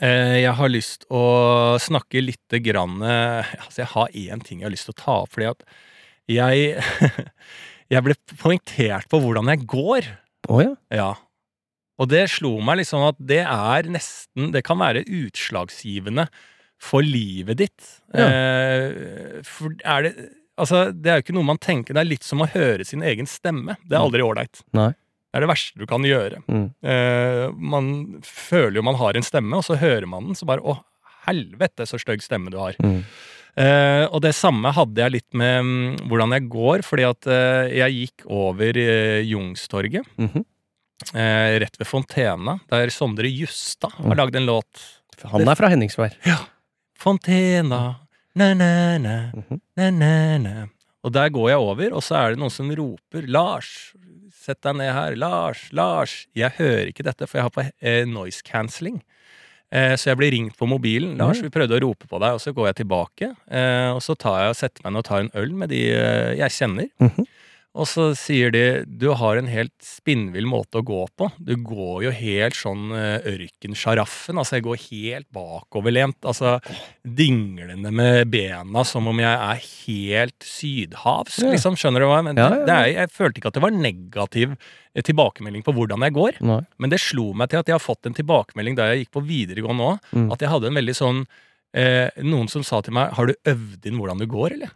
[SPEAKER 2] Jeg har lyst å snakke litt grann eh, Altså, jeg har én ting jeg har lyst til å ta opp, fordi at jeg Jeg ble poengtert på hvordan jeg går.
[SPEAKER 3] Å ja.
[SPEAKER 2] Ja. Og det slo meg liksom at det er nesten Det kan være utslagsgivende for livet ditt.
[SPEAKER 3] Ja.
[SPEAKER 2] Eh, For er det Altså, det er jo ikke noe man tenker Det er litt som å høre sin egen stemme. Det er aldri ålreit.
[SPEAKER 3] Mm. Nei.
[SPEAKER 2] Det er det verste du kan gjøre.
[SPEAKER 3] Mm.
[SPEAKER 2] Eh, man føler jo man har en stemme, og så hører man den, så bare Å, helvete, så stygg stemme du har.
[SPEAKER 3] Mm.
[SPEAKER 2] Eh, og det samme hadde jeg litt med mm, hvordan jeg går, fordi at eh, jeg gikk over eh, Jungstorget,
[SPEAKER 3] Mhm.
[SPEAKER 2] eh, rett ved Fontena, der Sondre Justad har
[SPEAKER 3] Mm.
[SPEAKER 2] lagd en låt.
[SPEAKER 3] Han er fra Henningsvær.
[SPEAKER 2] Fontena, na-na-na,
[SPEAKER 3] Mhm.
[SPEAKER 2] na-na-na. Og der går jeg over, og så er det noen som roper 'Lars, sett deg ned her'. 'Lars, Lars'. Jeg hører ikke dette, for jeg har på eh, noise cancelling. Eh, så jeg blir ringt på mobilen. 'Lars, vi prøvde å rope på deg', og så går jeg tilbake. Eh, og så tar jeg og setter meg ned og tar en øl med de eh, jeg kjenner.
[SPEAKER 3] Mhm.
[SPEAKER 2] Og så sier de 'du har en helt spinnvill måte å gå på'. Du går jo helt sånn eh, ørkensjaraffen. Altså, jeg går helt bakoverlent. Altså dinglende med bena som om jeg er helt sydhavs,
[SPEAKER 3] Ja.
[SPEAKER 2] liksom. Skjønner du hva jeg mener?
[SPEAKER 3] Ja, ja, ja.
[SPEAKER 2] Det er, jeg følte ikke at det var negativ eh, tilbakemelding på hvordan jeg går,
[SPEAKER 3] Nei.
[SPEAKER 2] men det slo meg til at jeg har fått en tilbakemelding da jeg gikk på videregående òg,
[SPEAKER 3] Mm.
[SPEAKER 2] at jeg hadde en veldig sånn eh, Noen som sa til meg 'Har du øvd inn hvordan du går, eller?'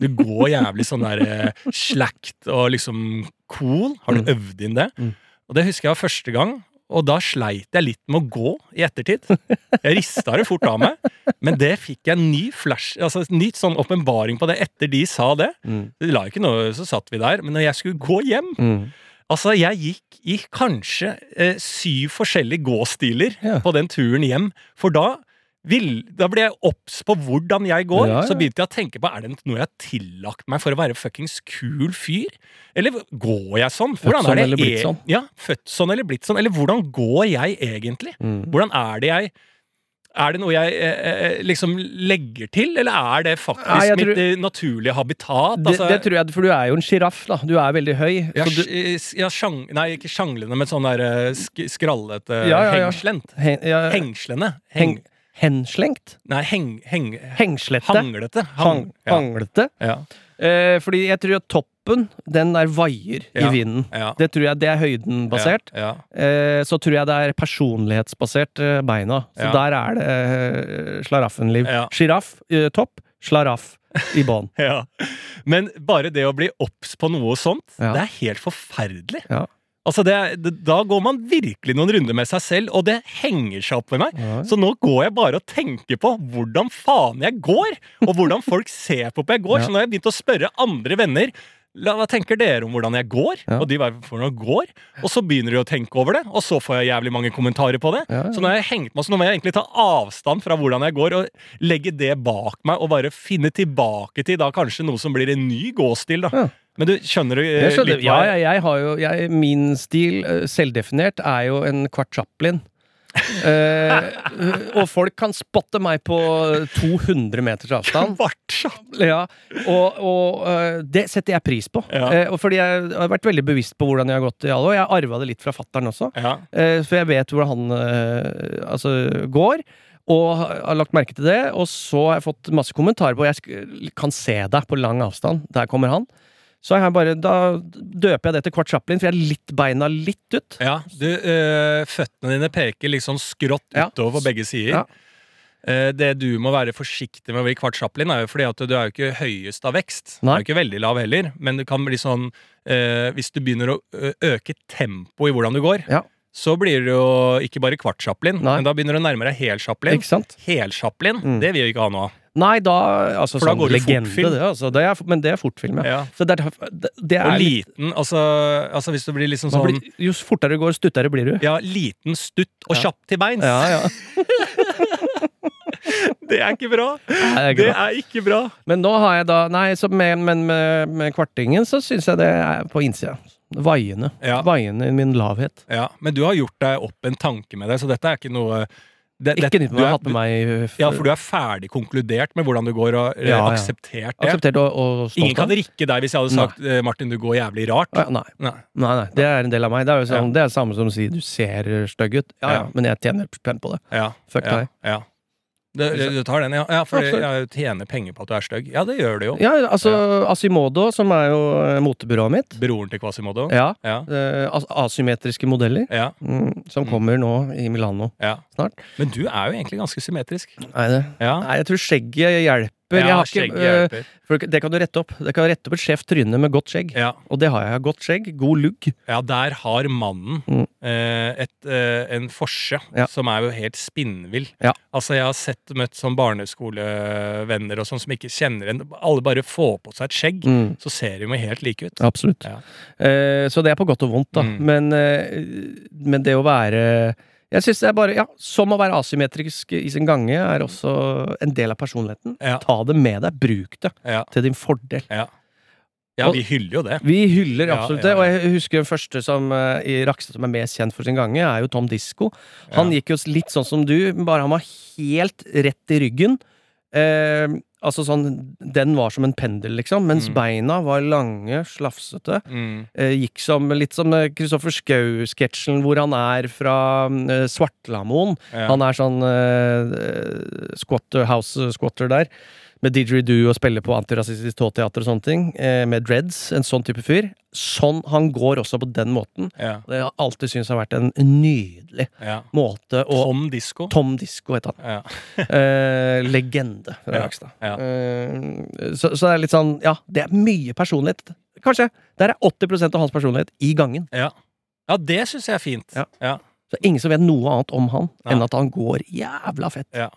[SPEAKER 2] Du går jævlig sånn der eh, slakt og liksom cool. Har du
[SPEAKER 3] Mm.
[SPEAKER 2] øvd inn det?
[SPEAKER 3] Mm.
[SPEAKER 2] Og det husker jeg var første gang, og da sleit jeg litt med å gå i ettertid. Jeg rista det fort av meg. Men det fikk jeg en ny flash, altså en ny sånn åpenbaring på det etter de sa det.
[SPEAKER 3] Mm.
[SPEAKER 2] Det la ikke noe, så satt vi der. Men når jeg skulle gå hjem
[SPEAKER 3] Mm.
[SPEAKER 2] Altså, jeg gikk i kanskje eh, syv forskjellige gåstiler
[SPEAKER 3] Ja.
[SPEAKER 2] på den turen hjem. For da, vil, da ble jeg obs på hvordan jeg går.
[SPEAKER 3] Ja, ja.
[SPEAKER 2] Så begynte jeg å tenke på er det noe jeg har tillagt meg for å være fuckings kul fyr. Eller går jeg sånn? Hvordan
[SPEAKER 3] Født sånn
[SPEAKER 2] er det
[SPEAKER 3] eller blitt
[SPEAKER 2] e-
[SPEAKER 3] sånn?
[SPEAKER 2] Ja, født sånn eller blitt sånn. Eller hvordan går jeg egentlig?
[SPEAKER 3] Mm.
[SPEAKER 2] Hvordan er det jeg Er det noe jeg eh, eh, liksom legger til, eller er det faktisk
[SPEAKER 3] Nei, jeg
[SPEAKER 2] mitt
[SPEAKER 3] tror-
[SPEAKER 2] eh, naturlige habitat? Altså,
[SPEAKER 3] Det, det tror jeg, for du er jo en sjiraff, da. Du er veldig høy.
[SPEAKER 2] ja,
[SPEAKER 3] Så du,
[SPEAKER 2] sj- ja, sjang, nei, ikke sjanglende, men sånn der eh, sk skrallete
[SPEAKER 3] Ja, ja, ja.
[SPEAKER 2] Hengslent.
[SPEAKER 3] hen, ja,
[SPEAKER 2] Hengslende. Heng,
[SPEAKER 3] heng, henslengt?
[SPEAKER 2] Nei, heng, heng,
[SPEAKER 3] Hengslette?
[SPEAKER 2] hanglete. Hang,
[SPEAKER 3] Hang, hanglete?
[SPEAKER 2] ja,
[SPEAKER 3] Eh, fordi jeg tror at toppen, den der vaier
[SPEAKER 2] Ja.
[SPEAKER 3] i vinden.
[SPEAKER 2] ja, ja,
[SPEAKER 3] Det tror jeg det er høyden basert.
[SPEAKER 2] Ja,
[SPEAKER 3] Eh, så tror jeg det er personlighetsbasert eh, beina. Så
[SPEAKER 2] Ja.
[SPEAKER 3] der er det eh, slaraffenliv.
[SPEAKER 2] Ja.
[SPEAKER 3] Sjiraff eh, topp, slaraff i bånn.
[SPEAKER 2] ja, ja. Men bare det å bli obs på noe sånt,
[SPEAKER 3] Ja.
[SPEAKER 2] det er helt forferdelig.
[SPEAKER 3] Ja.
[SPEAKER 2] Altså det, er- det, da går man virkelig noen runder med seg selv, og det henger seg opp med meg.
[SPEAKER 3] Ja.
[SPEAKER 2] Så nå går jeg bare og tenker på hvordan faen jeg går, og hvordan folk ser på på jeg går.
[SPEAKER 3] Ja.
[SPEAKER 2] Så nå har jeg begynt å spørre andre venner La, hva tenker dere om hvordan jeg går?
[SPEAKER 3] Ja.
[SPEAKER 2] Og de bare, hvordan jeg går? Og så begynner de å tenke over det, og så får jeg jævlig mange kommentarer på det.
[SPEAKER 3] Ja, ja.
[SPEAKER 2] Så nå har jeg hengt meg, så nå må jeg egentlig ta avstand fra hvordan jeg går, og legge det bak meg, og bare finne tilbake til da kanskje noe som blir en ny gåstil, da.
[SPEAKER 3] Ja.
[SPEAKER 2] Men du, skjønner du eh,
[SPEAKER 3] Jeg skjønner,
[SPEAKER 2] litt
[SPEAKER 3] ja,
[SPEAKER 2] hva
[SPEAKER 3] ja, jeg har jo jeg, Min stil, eh, selvdefinert, er jo en kvart Chaplin. Eh, og folk kan spotte meg på 200 meters avstand.
[SPEAKER 2] Kvartsatt.
[SPEAKER 3] Ja, og, og eh, det setter jeg pris på.
[SPEAKER 2] Ja.
[SPEAKER 3] Eh, og fordi jeg har vært veldig bevisst på hvordan jeg har gått i alle år. Jeg arva det litt fra fattern også.
[SPEAKER 2] Ja.
[SPEAKER 3] Eh, For jeg vet hvordan han eh, altså, går, og har lagt merke til det. Og så har jeg fått masse kommentarer på Jeg sk- kan se deg på lang avstand. Der kommer han. Så jeg bare, da døper jeg det til Kvart Chaplin, for jeg har litt beina litt ut.
[SPEAKER 2] Ja, du, eh, føttene dine peker liksom skrått
[SPEAKER 3] Ja.
[SPEAKER 2] utover på begge sider.
[SPEAKER 3] Ja.
[SPEAKER 2] Eh, det du må være forsiktig med å bli kvart Chaplin, er jo fordi at du er jo ikke høyest av vekst. Du
[SPEAKER 3] Nei.
[SPEAKER 2] er jo ikke veldig lav heller, men det kan bli sånn eh, Hvis du begynner å ø- øke tempoet i hvordan du går,
[SPEAKER 3] Ja.
[SPEAKER 2] så blir du jo ikke bare kvart Chaplin,
[SPEAKER 3] Nei.
[SPEAKER 2] men da begynner du å nærme deg hel Chaplin.
[SPEAKER 3] Ikke sant?
[SPEAKER 2] Hel Chaplin,
[SPEAKER 3] Mm.
[SPEAKER 2] det vil vi ikke ha nå.
[SPEAKER 3] Nei, da altså,
[SPEAKER 2] For da
[SPEAKER 3] sånn
[SPEAKER 2] går det
[SPEAKER 3] legende,
[SPEAKER 2] fortfilm.
[SPEAKER 3] Det, altså, det er, men det er fortfilm, ja.
[SPEAKER 2] Ja.
[SPEAKER 3] Så det er, det, det
[SPEAKER 2] Og
[SPEAKER 3] er litt-
[SPEAKER 2] liten, altså, altså hvis du blir liksom
[SPEAKER 3] man
[SPEAKER 2] sånn
[SPEAKER 3] blir, Jo fortere du går, stuttere blir du.
[SPEAKER 2] Ja, liten, stutt og
[SPEAKER 3] Ja.
[SPEAKER 2] kjapp til beins.
[SPEAKER 3] Ja, ja.
[SPEAKER 2] Det er ikke bra!
[SPEAKER 3] Nei, det er ikke
[SPEAKER 2] Det
[SPEAKER 3] bra.
[SPEAKER 2] er ikke bra.
[SPEAKER 3] Men nå har jeg da Nei, så med, men med, med kvartingen så syns jeg det er på innsida. Vaiende.
[SPEAKER 2] Ja.
[SPEAKER 3] Vaiende i min lavhet.
[SPEAKER 2] Ja, Men du har gjort deg opp en tanke med det, så dette er ikke noe det,
[SPEAKER 3] Ikke
[SPEAKER 2] det-
[SPEAKER 3] nytt,
[SPEAKER 2] du
[SPEAKER 3] men jeg
[SPEAKER 2] er-
[SPEAKER 3] har hatt med meg eh,
[SPEAKER 2] Ja, for du er ferdig konkludert med hvordan du går, og eh,
[SPEAKER 3] Ja, ja.
[SPEAKER 2] akseptert det.
[SPEAKER 3] akseptert og, og stolt
[SPEAKER 2] Ingen kan
[SPEAKER 3] av.
[SPEAKER 2] rikke deg hvis jeg hadde sagt eh, 'Martin, du går jævlig rart'.
[SPEAKER 3] Å, ja, Nei.
[SPEAKER 2] Nei.
[SPEAKER 3] nei, nei, det er en del av meg. Det er jo sånn, det er det samme som å si du ser stygg ut. Ja, ja,
[SPEAKER 2] Ja.
[SPEAKER 3] men jeg tjener penn på det.
[SPEAKER 2] Ja,
[SPEAKER 3] Fuck
[SPEAKER 2] ja,
[SPEAKER 3] deg.
[SPEAKER 2] Ja. Du, du, du tar den, ja. ja for
[SPEAKER 3] Absolutt.
[SPEAKER 2] jeg tjener penger på at du er stygg. Ja, det gjør du jo.
[SPEAKER 3] Ja, altså Asimodo, som er jo eh, motebyrået mitt.
[SPEAKER 2] Broren til Quasimodo.
[SPEAKER 3] Ja.
[SPEAKER 2] Ja.
[SPEAKER 3] eh, as asymmetriske modeller.
[SPEAKER 2] Ja,
[SPEAKER 3] Mm, som
[SPEAKER 2] Mm.
[SPEAKER 3] kommer nå i Milano
[SPEAKER 2] ja.
[SPEAKER 3] snart.
[SPEAKER 2] Men du er jo egentlig ganske symmetrisk.
[SPEAKER 3] Nei, det.
[SPEAKER 2] Ja,
[SPEAKER 3] Nei jeg tror skjegget hjelper. jeg
[SPEAKER 2] ja
[SPEAKER 3] har ikke,
[SPEAKER 2] skjegget
[SPEAKER 3] eh,
[SPEAKER 2] hjelper.
[SPEAKER 3] for det kan du rette opp. Det kan rette opp et skjevt tryne med godt skjegg.
[SPEAKER 2] Ja.
[SPEAKER 3] Og det har jeg. Godt skjegg, god lugg.
[SPEAKER 2] Ja, der har mannen
[SPEAKER 3] Mm.
[SPEAKER 2] eh, et, eh, en forse
[SPEAKER 3] Ja.
[SPEAKER 2] som er jo helt spinnvill.
[SPEAKER 3] Ja.
[SPEAKER 2] Altså, jeg har sett møtt sånn barneskolevenner og sånn som ikke kjenner en. Alle bare får på seg et skjegg,
[SPEAKER 3] Mm.
[SPEAKER 2] så ser de jo helt like ut.
[SPEAKER 3] Absolutt.
[SPEAKER 2] Ja.
[SPEAKER 3] Eh, så det er på godt og vondt, da.
[SPEAKER 2] Mm.
[SPEAKER 3] Men, eh, men det å være Jeg syns det er bare Ja, som å være asymmetrisk i sin gange er også en del av personligheten.
[SPEAKER 2] Ja.
[SPEAKER 3] Ta det med deg. Bruk det
[SPEAKER 2] Ja,
[SPEAKER 3] til din fordel.
[SPEAKER 2] ja
[SPEAKER 3] Og-
[SPEAKER 2] vi hyller jo det.
[SPEAKER 3] Vi hyller
[SPEAKER 2] Ja, ja,
[SPEAKER 3] absolutt det.
[SPEAKER 2] ja.
[SPEAKER 3] Og jeg husker den første som eh, i Rakstad som er mest kjent for sin gange, er jo Tom Disko. Han
[SPEAKER 2] Ja.
[SPEAKER 3] gikk jo litt sånn som du, bare han var helt rett i ryggen. Eh, altså sånn Den var som en pendel, liksom. Mens
[SPEAKER 2] Mm.
[SPEAKER 3] beina var lange, slafsete.
[SPEAKER 2] Mm.
[SPEAKER 3] eh, gikk som litt som eh, Kristoffer Schou-sketsjen hvor han er fra eh, Svartlamoen.
[SPEAKER 2] Ja.
[SPEAKER 3] Han er sånn eh, squatter, house-squatter der. Med didgeridoo og spiller på antirasistisk tåteater og sånne ting. eh, med dreads. En sånn type fyr. Sånn, Han går også på den måten.
[SPEAKER 2] ja,
[SPEAKER 3] Det har jeg alltid syntes har vært en nydelig
[SPEAKER 2] ja.
[SPEAKER 3] måte å
[SPEAKER 2] Tom Disko.
[SPEAKER 3] Tom Disko heter han.
[SPEAKER 2] Ja.
[SPEAKER 3] Eh, legende fra
[SPEAKER 2] Ja,
[SPEAKER 3] Rakstad.
[SPEAKER 2] ja.
[SPEAKER 3] Eh, så, så det er litt sånn Ja, det er mye personlighet. Kanskje. Der er 80 av hans personlighet i gangen.
[SPEAKER 2] Ja. ja, det syns jeg er fint.
[SPEAKER 3] Ja.
[SPEAKER 2] Ja.
[SPEAKER 3] Så ingen som vet noe annet om han
[SPEAKER 2] Nei.
[SPEAKER 3] enn at han går jævla fett.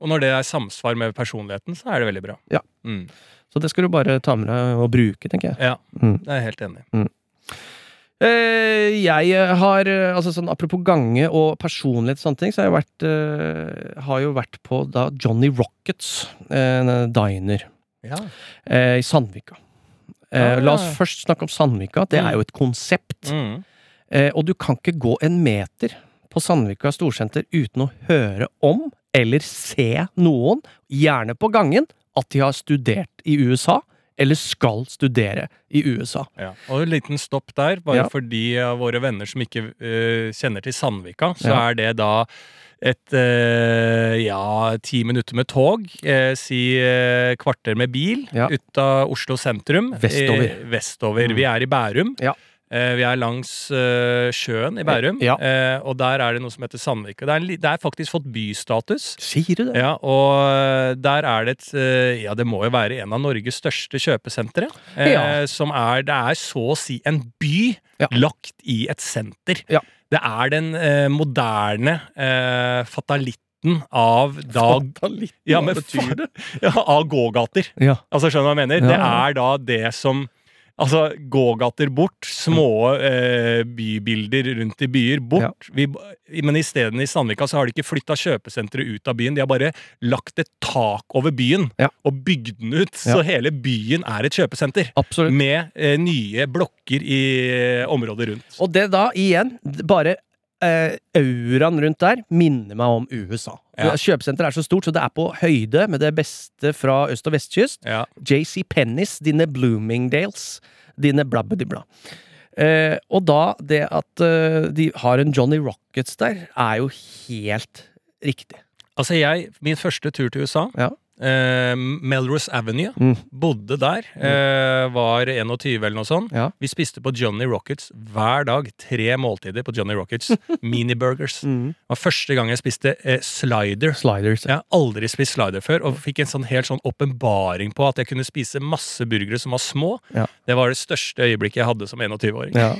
[SPEAKER 2] Og når det er samsvar med personligheten, så er det veldig bra.
[SPEAKER 3] Ja.
[SPEAKER 2] Mm.
[SPEAKER 3] Så det skal du bare ta med deg og bruke, tenker jeg.
[SPEAKER 2] Ja,
[SPEAKER 3] Mm.
[SPEAKER 2] det er jeg helt enig. i.
[SPEAKER 3] Eh, jeg eh, har eh, altså sånn Apropos gange og personlighet og sånne ting, så har jeg vært, eh, har jo vært på da Johnny Rockets, en eh, diner,
[SPEAKER 2] Ja.
[SPEAKER 3] eh, i Sandvika. Eh,
[SPEAKER 2] Ah.
[SPEAKER 3] La oss først snakke om Sandvika. Det
[SPEAKER 2] Mm.
[SPEAKER 3] er jo et konsept.
[SPEAKER 2] Mm.
[SPEAKER 3] Eh, og du kan ikke gå en meter på Sandvika storsenter uten å høre om eller se noen, gjerne på gangen, at de har studert i USA eller skal studere i USA.
[SPEAKER 2] Ja. Og en liten stopp der, bare
[SPEAKER 3] Ja.
[SPEAKER 2] for de av våre venner som ikke eh, kjenner til Sandvika, så
[SPEAKER 3] Ja.
[SPEAKER 2] er det da et eh, ja, ti minutter med tog, eh, si eh, kvarter med bil
[SPEAKER 3] Ja.
[SPEAKER 2] ut av Oslo sentrum.
[SPEAKER 3] Vestover.
[SPEAKER 2] Eh, vestover.
[SPEAKER 3] Mm.
[SPEAKER 2] Vi er i Bærum.
[SPEAKER 3] Ja.
[SPEAKER 2] Eh, vi er langs eh, sjøen i Bærum,
[SPEAKER 3] Ja.
[SPEAKER 2] eh, og der er det noe som heter Sandvika. Det er, en li- det er faktisk fått bystatus.
[SPEAKER 3] Sier du det?
[SPEAKER 2] Ja, og der er det et eh, Ja, det må jo være en av Norges største kjøpesentre. eh,
[SPEAKER 3] Ja.
[SPEAKER 2] Som er Det er så å si en by
[SPEAKER 3] Ja.
[SPEAKER 2] lagt i et senter.
[SPEAKER 3] Ja.
[SPEAKER 2] Det er den eh, moderne eh, fatalitten av da Ja, men faen- Ja, av gågater.
[SPEAKER 3] Ja.
[SPEAKER 2] Altså, skjønner du hva jeg mener?
[SPEAKER 3] Ja,
[SPEAKER 2] Det
[SPEAKER 3] ja.
[SPEAKER 2] er da det som Altså, gågater bort, små eh, bybilder rundt i byer bort. Vi b- men isteden i Sandvika så har de ikke flytta kjøpesenteret ut av byen. De har bare lagt et tak over byen
[SPEAKER 3] Ja.
[SPEAKER 2] og bygd den ut, så hele byen er et kjøpesenter.
[SPEAKER 3] Absolutt.
[SPEAKER 2] Med eh, nye blokker i eh, området rundt.
[SPEAKER 3] Og det da, igjen, d- bare eh, auraen rundt der minner meg om USA.
[SPEAKER 2] Ja.
[SPEAKER 3] Kjøpesenteret er så stort, så det er på høyde med det beste fra øst- og vestkyst.
[SPEAKER 2] Ja.
[SPEAKER 3] JC Pennis, dine Bloomingdales, dine blabbedibla. Eh, og da det at eh, de har en Johnny Rockets der, er jo helt riktig.
[SPEAKER 2] Altså jeg, Min første tur til USA
[SPEAKER 3] Ja.
[SPEAKER 2] eh, Melrose Avenue.
[SPEAKER 3] Mm.
[SPEAKER 2] Bodde der. Eh, var 21 eller noe sånt.
[SPEAKER 3] Ja.
[SPEAKER 2] Vi spiste på Johnny Rockets hver dag. Tre måltider på Johnny Rockets. Miniburgers.
[SPEAKER 3] Mm.
[SPEAKER 2] Det var første gang jeg spiste eh, slider.
[SPEAKER 3] Sliders.
[SPEAKER 2] Jeg har aldri spist slider før, og fikk en sånn helt sånn åpenbaring på at jeg kunne spise masse burgere som var små.
[SPEAKER 3] Ja.
[SPEAKER 2] Det var det største øyeblikket jeg hadde som 21-åring.
[SPEAKER 3] Ja.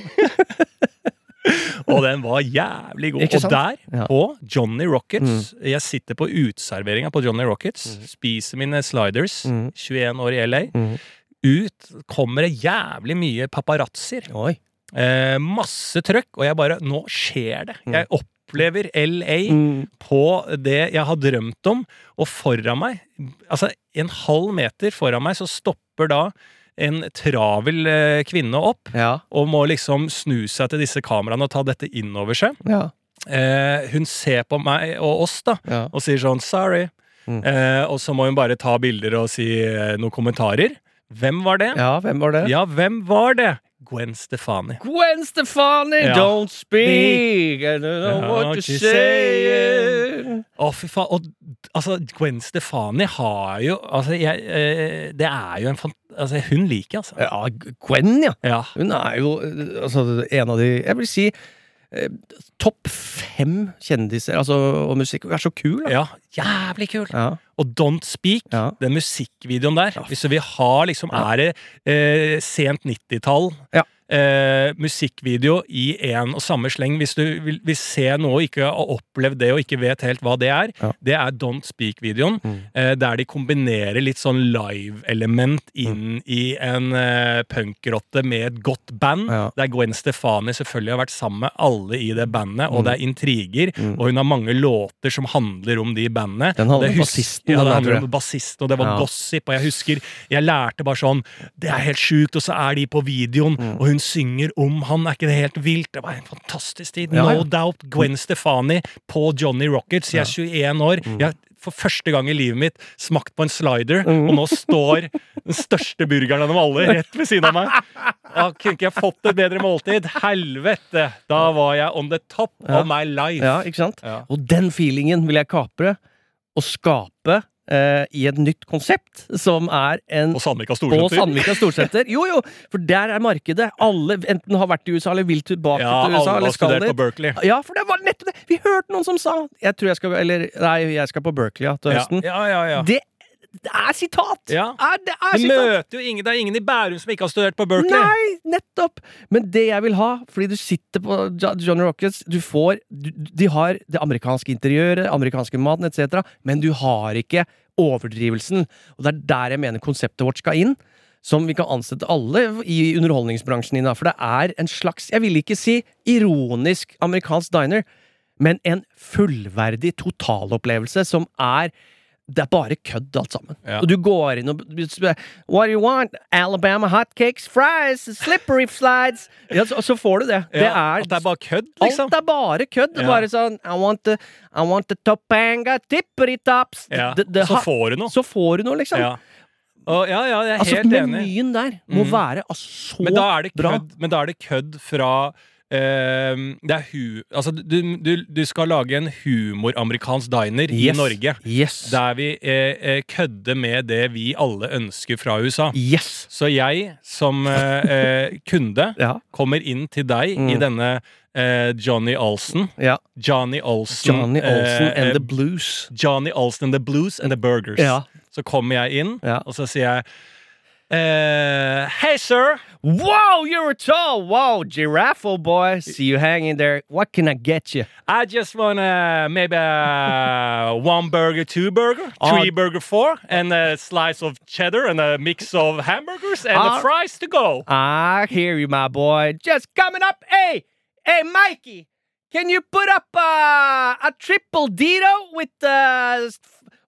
[SPEAKER 2] Og den var jævlig god.
[SPEAKER 3] Ikke
[SPEAKER 2] Og
[SPEAKER 3] sant?
[SPEAKER 2] der,
[SPEAKER 3] Ja. Mm.
[SPEAKER 2] på Johnny Rockets Jeg sitter på uteserveringa på Johnny Rockets, spiser mine sliders,
[SPEAKER 3] Mm.
[SPEAKER 2] 21 år i LA.
[SPEAKER 3] Mhm.
[SPEAKER 2] Ut kommer det jævlig mye paparazzier.
[SPEAKER 3] Oi.
[SPEAKER 2] Eh, masse trøkk, og jeg bare Nå skjer det! Jeg
[SPEAKER 3] Mm.
[SPEAKER 2] opplever LA på det jeg har drømt om, og foran meg, altså en halv meter foran meg, så stopper da en travel eh, kvinne opp
[SPEAKER 3] Ja.
[SPEAKER 2] og må liksom snu seg til disse kameraene og ta dette inn over seg.
[SPEAKER 3] Ja.
[SPEAKER 2] Eh, hun ser på meg og oss da,
[SPEAKER 3] Ja.
[SPEAKER 2] og sier sånn 'sorry'.
[SPEAKER 3] Mm.
[SPEAKER 2] Eh, og så må hun bare ta bilder og si eh, noen kommentarer. Hvem var det?
[SPEAKER 3] ja, hvem var det?
[SPEAKER 2] Ja, hvem var det? Gwen Stefani.
[SPEAKER 3] Gwen Stefani,
[SPEAKER 2] Ja.
[SPEAKER 3] don't speak! I don't know
[SPEAKER 2] Ja,
[SPEAKER 3] what
[SPEAKER 2] what
[SPEAKER 3] you're
[SPEAKER 2] you
[SPEAKER 3] saying.
[SPEAKER 2] Å, fy faen. Og d- altså, Gwen Stefani har jo Altså, jeg eh, Det er jo en fant... Altså, hun liker jeg, altså.
[SPEAKER 3] Ja, Gwen, ja.
[SPEAKER 2] Ja.
[SPEAKER 3] Hun er jo eh, altså, en av de Jeg vil si eh, topp fem kjendiser altså, og musikk. Hun er så kul, da.
[SPEAKER 2] ja. Jævlig kul.
[SPEAKER 3] Ja.
[SPEAKER 2] Og Don't Speak,
[SPEAKER 3] Ja.
[SPEAKER 2] den musikkvideoen der Hvis vi har liksom Er det eh, sent 90-tall?
[SPEAKER 3] Ja.
[SPEAKER 2] Eh, musikkvideo i én og samme sleng. Hvis du vil, vil se noe og ikke har opplevd det og ikke vet helt hva det er,
[SPEAKER 3] Ja.
[SPEAKER 2] det er Don't Speak-videoen.
[SPEAKER 3] Mm.
[SPEAKER 2] Eh, der de kombinerer litt sånn live-element inn
[SPEAKER 3] Mm.
[SPEAKER 2] i en eh, punkrotte med et godt band.
[SPEAKER 3] Ja.
[SPEAKER 2] Der Gwen Stefani selvfølgelig har vært sammen med alle i det bandet, og
[SPEAKER 3] Mm.
[SPEAKER 2] det er intriger.
[SPEAKER 3] Mm.
[SPEAKER 2] Og hun har mange låter som handler om de i bandet.
[SPEAKER 3] Den handler
[SPEAKER 2] Det
[SPEAKER 3] om
[SPEAKER 2] hus-
[SPEAKER 3] bassisten,
[SPEAKER 2] Ja,
[SPEAKER 3] den
[SPEAKER 2] det
[SPEAKER 3] der, tror
[SPEAKER 2] handler
[SPEAKER 3] jeg.
[SPEAKER 2] om bassisten, og det var
[SPEAKER 3] Ja.
[SPEAKER 2] gossip. Og jeg husker jeg lærte bare sånn Det er helt sjukt, og så er de på videoen,
[SPEAKER 3] Mm.
[SPEAKER 2] og hun synger om han. Er ikke det helt vilt? Det var en fantastisk tid.
[SPEAKER 3] Ja, ja.
[SPEAKER 2] No doubt Gwen Stefani på Johnny Rockets. Jeg er 21 år.
[SPEAKER 3] Mm.
[SPEAKER 2] Jeg har for første gang i livet mitt smakt på en slider,
[SPEAKER 3] Mm.
[SPEAKER 2] og nå står den største burgeren av dem alle rett ved siden av meg. Da kunne ikke jeg fått et bedre måltid. Helvete! Da var jeg on the top of my life.
[SPEAKER 3] ja, ikke sant?
[SPEAKER 2] Ja.
[SPEAKER 3] Og den feelingen vil jeg kapre og skape eh, i et nytt konsept, som er en
[SPEAKER 2] Og Sandvika
[SPEAKER 3] på
[SPEAKER 2] Storsenter.
[SPEAKER 3] Sandvika Storsenter. Jo, jo! For der er markedet. Alle enten har vært i USA eller vil tilbake
[SPEAKER 2] Ja,
[SPEAKER 3] til USA.
[SPEAKER 2] alle
[SPEAKER 3] Eller
[SPEAKER 2] har
[SPEAKER 3] skal
[SPEAKER 2] studert
[SPEAKER 3] dit.
[SPEAKER 2] på Berkeley.
[SPEAKER 3] Ja, for det var nettopp det! Vi hørte noen som sa Jeg tror jeg skal Eller nei, jeg skal på Berkeley ja, til
[SPEAKER 2] Ja,
[SPEAKER 3] høsten.
[SPEAKER 2] ja, ja, ja.
[SPEAKER 3] Det, det er sitat!
[SPEAKER 2] Ja.
[SPEAKER 3] Er, det er
[SPEAKER 2] Du
[SPEAKER 3] sitat!
[SPEAKER 2] møter jo ingen, det er ingen i Bærum som ikke har studert på Berkeley.
[SPEAKER 3] Nei, nettopp! Men det jeg vil ha, fordi du sitter på Jo- Johnny Rockets Du får du, De har det amerikanske interiøret, amerikanske maten etc., men du har ikke overdrivelsen. Og det er der jeg mener konseptet vårt skal inn. Som vi kan ansette alle i underholdningsbransjen inna. For det er en slags, jeg vil ikke si ironisk amerikansk diner, men en fullverdig totalopplevelse som er det er bare kødd, alt sammen.
[SPEAKER 2] Ja.
[SPEAKER 3] Og du går inn og b- spør What do you want? Alabama hotcakes, fries, slippery slides ja, så, så får du det.
[SPEAKER 2] Ja,
[SPEAKER 3] det er,
[SPEAKER 2] at det er bare kødd, liksom.
[SPEAKER 3] Alt er bare kødd.
[SPEAKER 2] Ja.
[SPEAKER 3] Bare sånn I want the, I want the topanga, tippity tops
[SPEAKER 2] Ja,
[SPEAKER 3] Det- det
[SPEAKER 2] og så
[SPEAKER 3] har-
[SPEAKER 2] får du noe.
[SPEAKER 3] så får du noe, liksom.
[SPEAKER 2] Ja. Og, ja, ja, jeg er
[SPEAKER 3] altså,
[SPEAKER 2] helt enig.
[SPEAKER 3] menyen der må
[SPEAKER 2] Mm.
[SPEAKER 3] være altså, så
[SPEAKER 2] Men da er det
[SPEAKER 3] bra.
[SPEAKER 2] kødd, men da er det kødd fra eh, det er hu... Altså, du, du, du skal lage en humoramerikansk diner i
[SPEAKER 3] Yes.
[SPEAKER 2] Norge.
[SPEAKER 3] Yes.
[SPEAKER 2] Der vi eh, eh, kødder med det vi alle ønsker fra USA.
[SPEAKER 3] yes.
[SPEAKER 2] Så jeg, som eh, eh, kunde,
[SPEAKER 3] Ja.
[SPEAKER 2] kommer inn til deg i
[SPEAKER 3] Mm.
[SPEAKER 2] denne eh, Johnny Olsen.
[SPEAKER 3] ja.
[SPEAKER 2] Johnny Olsen.
[SPEAKER 3] Johnny
[SPEAKER 2] Mm,
[SPEAKER 3] Olsen
[SPEAKER 2] eh, eh,
[SPEAKER 3] and the Blues.
[SPEAKER 2] Johnny Olsen and the Blues and the Burgers.
[SPEAKER 3] Ja.
[SPEAKER 2] Så kommer jeg inn,
[SPEAKER 3] Ja.
[SPEAKER 2] og så sier jeg eh, Hei, sir!
[SPEAKER 3] Wow, you're tall! Wow, giraffe, oh boy! See you hanging there. What can I get you?
[SPEAKER 2] I just wanna maybe uh, one burger, two burger, three
[SPEAKER 3] Ah.
[SPEAKER 2] burger, four, and a slice of cheddar and a mix of hamburgers and
[SPEAKER 3] Ah.
[SPEAKER 2] a fries to go.
[SPEAKER 3] I hear you, my boy. Just coming up. Hey, hey, Mikey, can you put up uh, a triple dito with the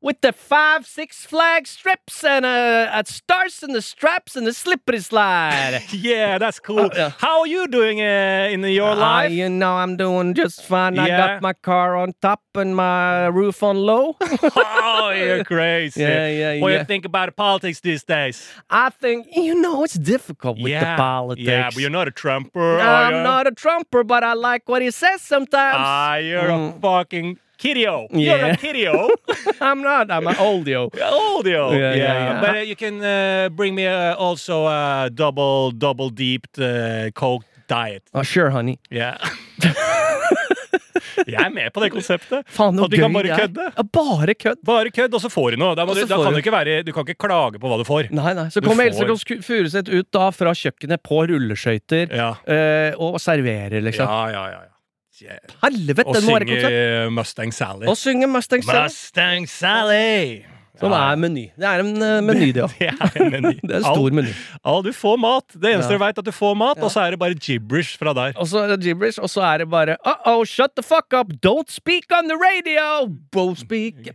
[SPEAKER 3] with the five six flag strips and uh, uh, stars and the straps and the slippery slide?
[SPEAKER 2] Yeah, that's cool.
[SPEAKER 3] Ah, yeah.
[SPEAKER 2] How are you doing uh, in your
[SPEAKER 3] Ah,
[SPEAKER 2] life?
[SPEAKER 3] you know I'm doing just fine. I
[SPEAKER 2] Yeah.
[SPEAKER 3] got my car on top and my roof on low.
[SPEAKER 2] oh, you're crazy.
[SPEAKER 3] Yeah, yeah,
[SPEAKER 2] What do
[SPEAKER 3] yeah.
[SPEAKER 2] you think about politics these days?
[SPEAKER 3] I think you know it's difficult with
[SPEAKER 2] yeah,
[SPEAKER 3] the politics.
[SPEAKER 2] Yeah, but you're not a Trumper. are
[SPEAKER 3] I'm
[SPEAKER 2] you?
[SPEAKER 3] not a Trumper, but I like what he says sometimes.
[SPEAKER 2] Ah, you're a
[SPEAKER 3] Mm.
[SPEAKER 2] fucking kiddio. You're
[SPEAKER 3] Yeah.
[SPEAKER 2] a kiddio.
[SPEAKER 3] I'm not. I'm an oldio.
[SPEAKER 2] Audio.
[SPEAKER 3] Yeah, yeah, yeah.
[SPEAKER 2] But uh, you can uh, bring me uh, also a double, double deep uh, coke diet.
[SPEAKER 3] Ah, sure, honey.
[SPEAKER 2] Ja. Jeg er med på det konseptet.
[SPEAKER 3] Faen, så
[SPEAKER 2] At du
[SPEAKER 3] gøy
[SPEAKER 2] kan bare
[SPEAKER 3] det er.
[SPEAKER 2] kødde.
[SPEAKER 3] Ja, Ah, bare kødd.
[SPEAKER 2] Bare kødd, og så får du noe. Da, må
[SPEAKER 3] Og
[SPEAKER 2] du,
[SPEAKER 3] så
[SPEAKER 2] da
[SPEAKER 3] får
[SPEAKER 2] kan
[SPEAKER 3] du.
[SPEAKER 2] du ikke, være, du kan ikke klage på hva du får.
[SPEAKER 3] Nei, nei. Så
[SPEAKER 2] Du
[SPEAKER 3] kommer
[SPEAKER 2] får-
[SPEAKER 3] Else Kåss Furuseth ut da fra kjøkkenet på rulleskøyter
[SPEAKER 2] Ja,
[SPEAKER 3] eh, og serverer,
[SPEAKER 2] ja,
[SPEAKER 3] liksom.
[SPEAKER 2] ja. ja, ja.
[SPEAKER 3] Helvete,
[SPEAKER 2] Og
[SPEAKER 3] den må være konsert.
[SPEAKER 2] synge Mustang Sally.
[SPEAKER 3] Og synge Mustang Sally,
[SPEAKER 2] Mustang Sally!
[SPEAKER 3] som
[SPEAKER 2] Ja.
[SPEAKER 3] Sånn er meny. Det er en eh, meny, det òg.
[SPEAKER 2] Det er en meny.
[SPEAKER 3] Det er en stor meny.
[SPEAKER 2] Ja, du får mat. Det eneste du
[SPEAKER 3] Ja.
[SPEAKER 2] veit, at du får mat, og så er det bare gibberish fra der.
[SPEAKER 3] Og så er det gibberish, og så er det bare Uh-oh, shut the fuck up! Don't speak on the radio! Bo speak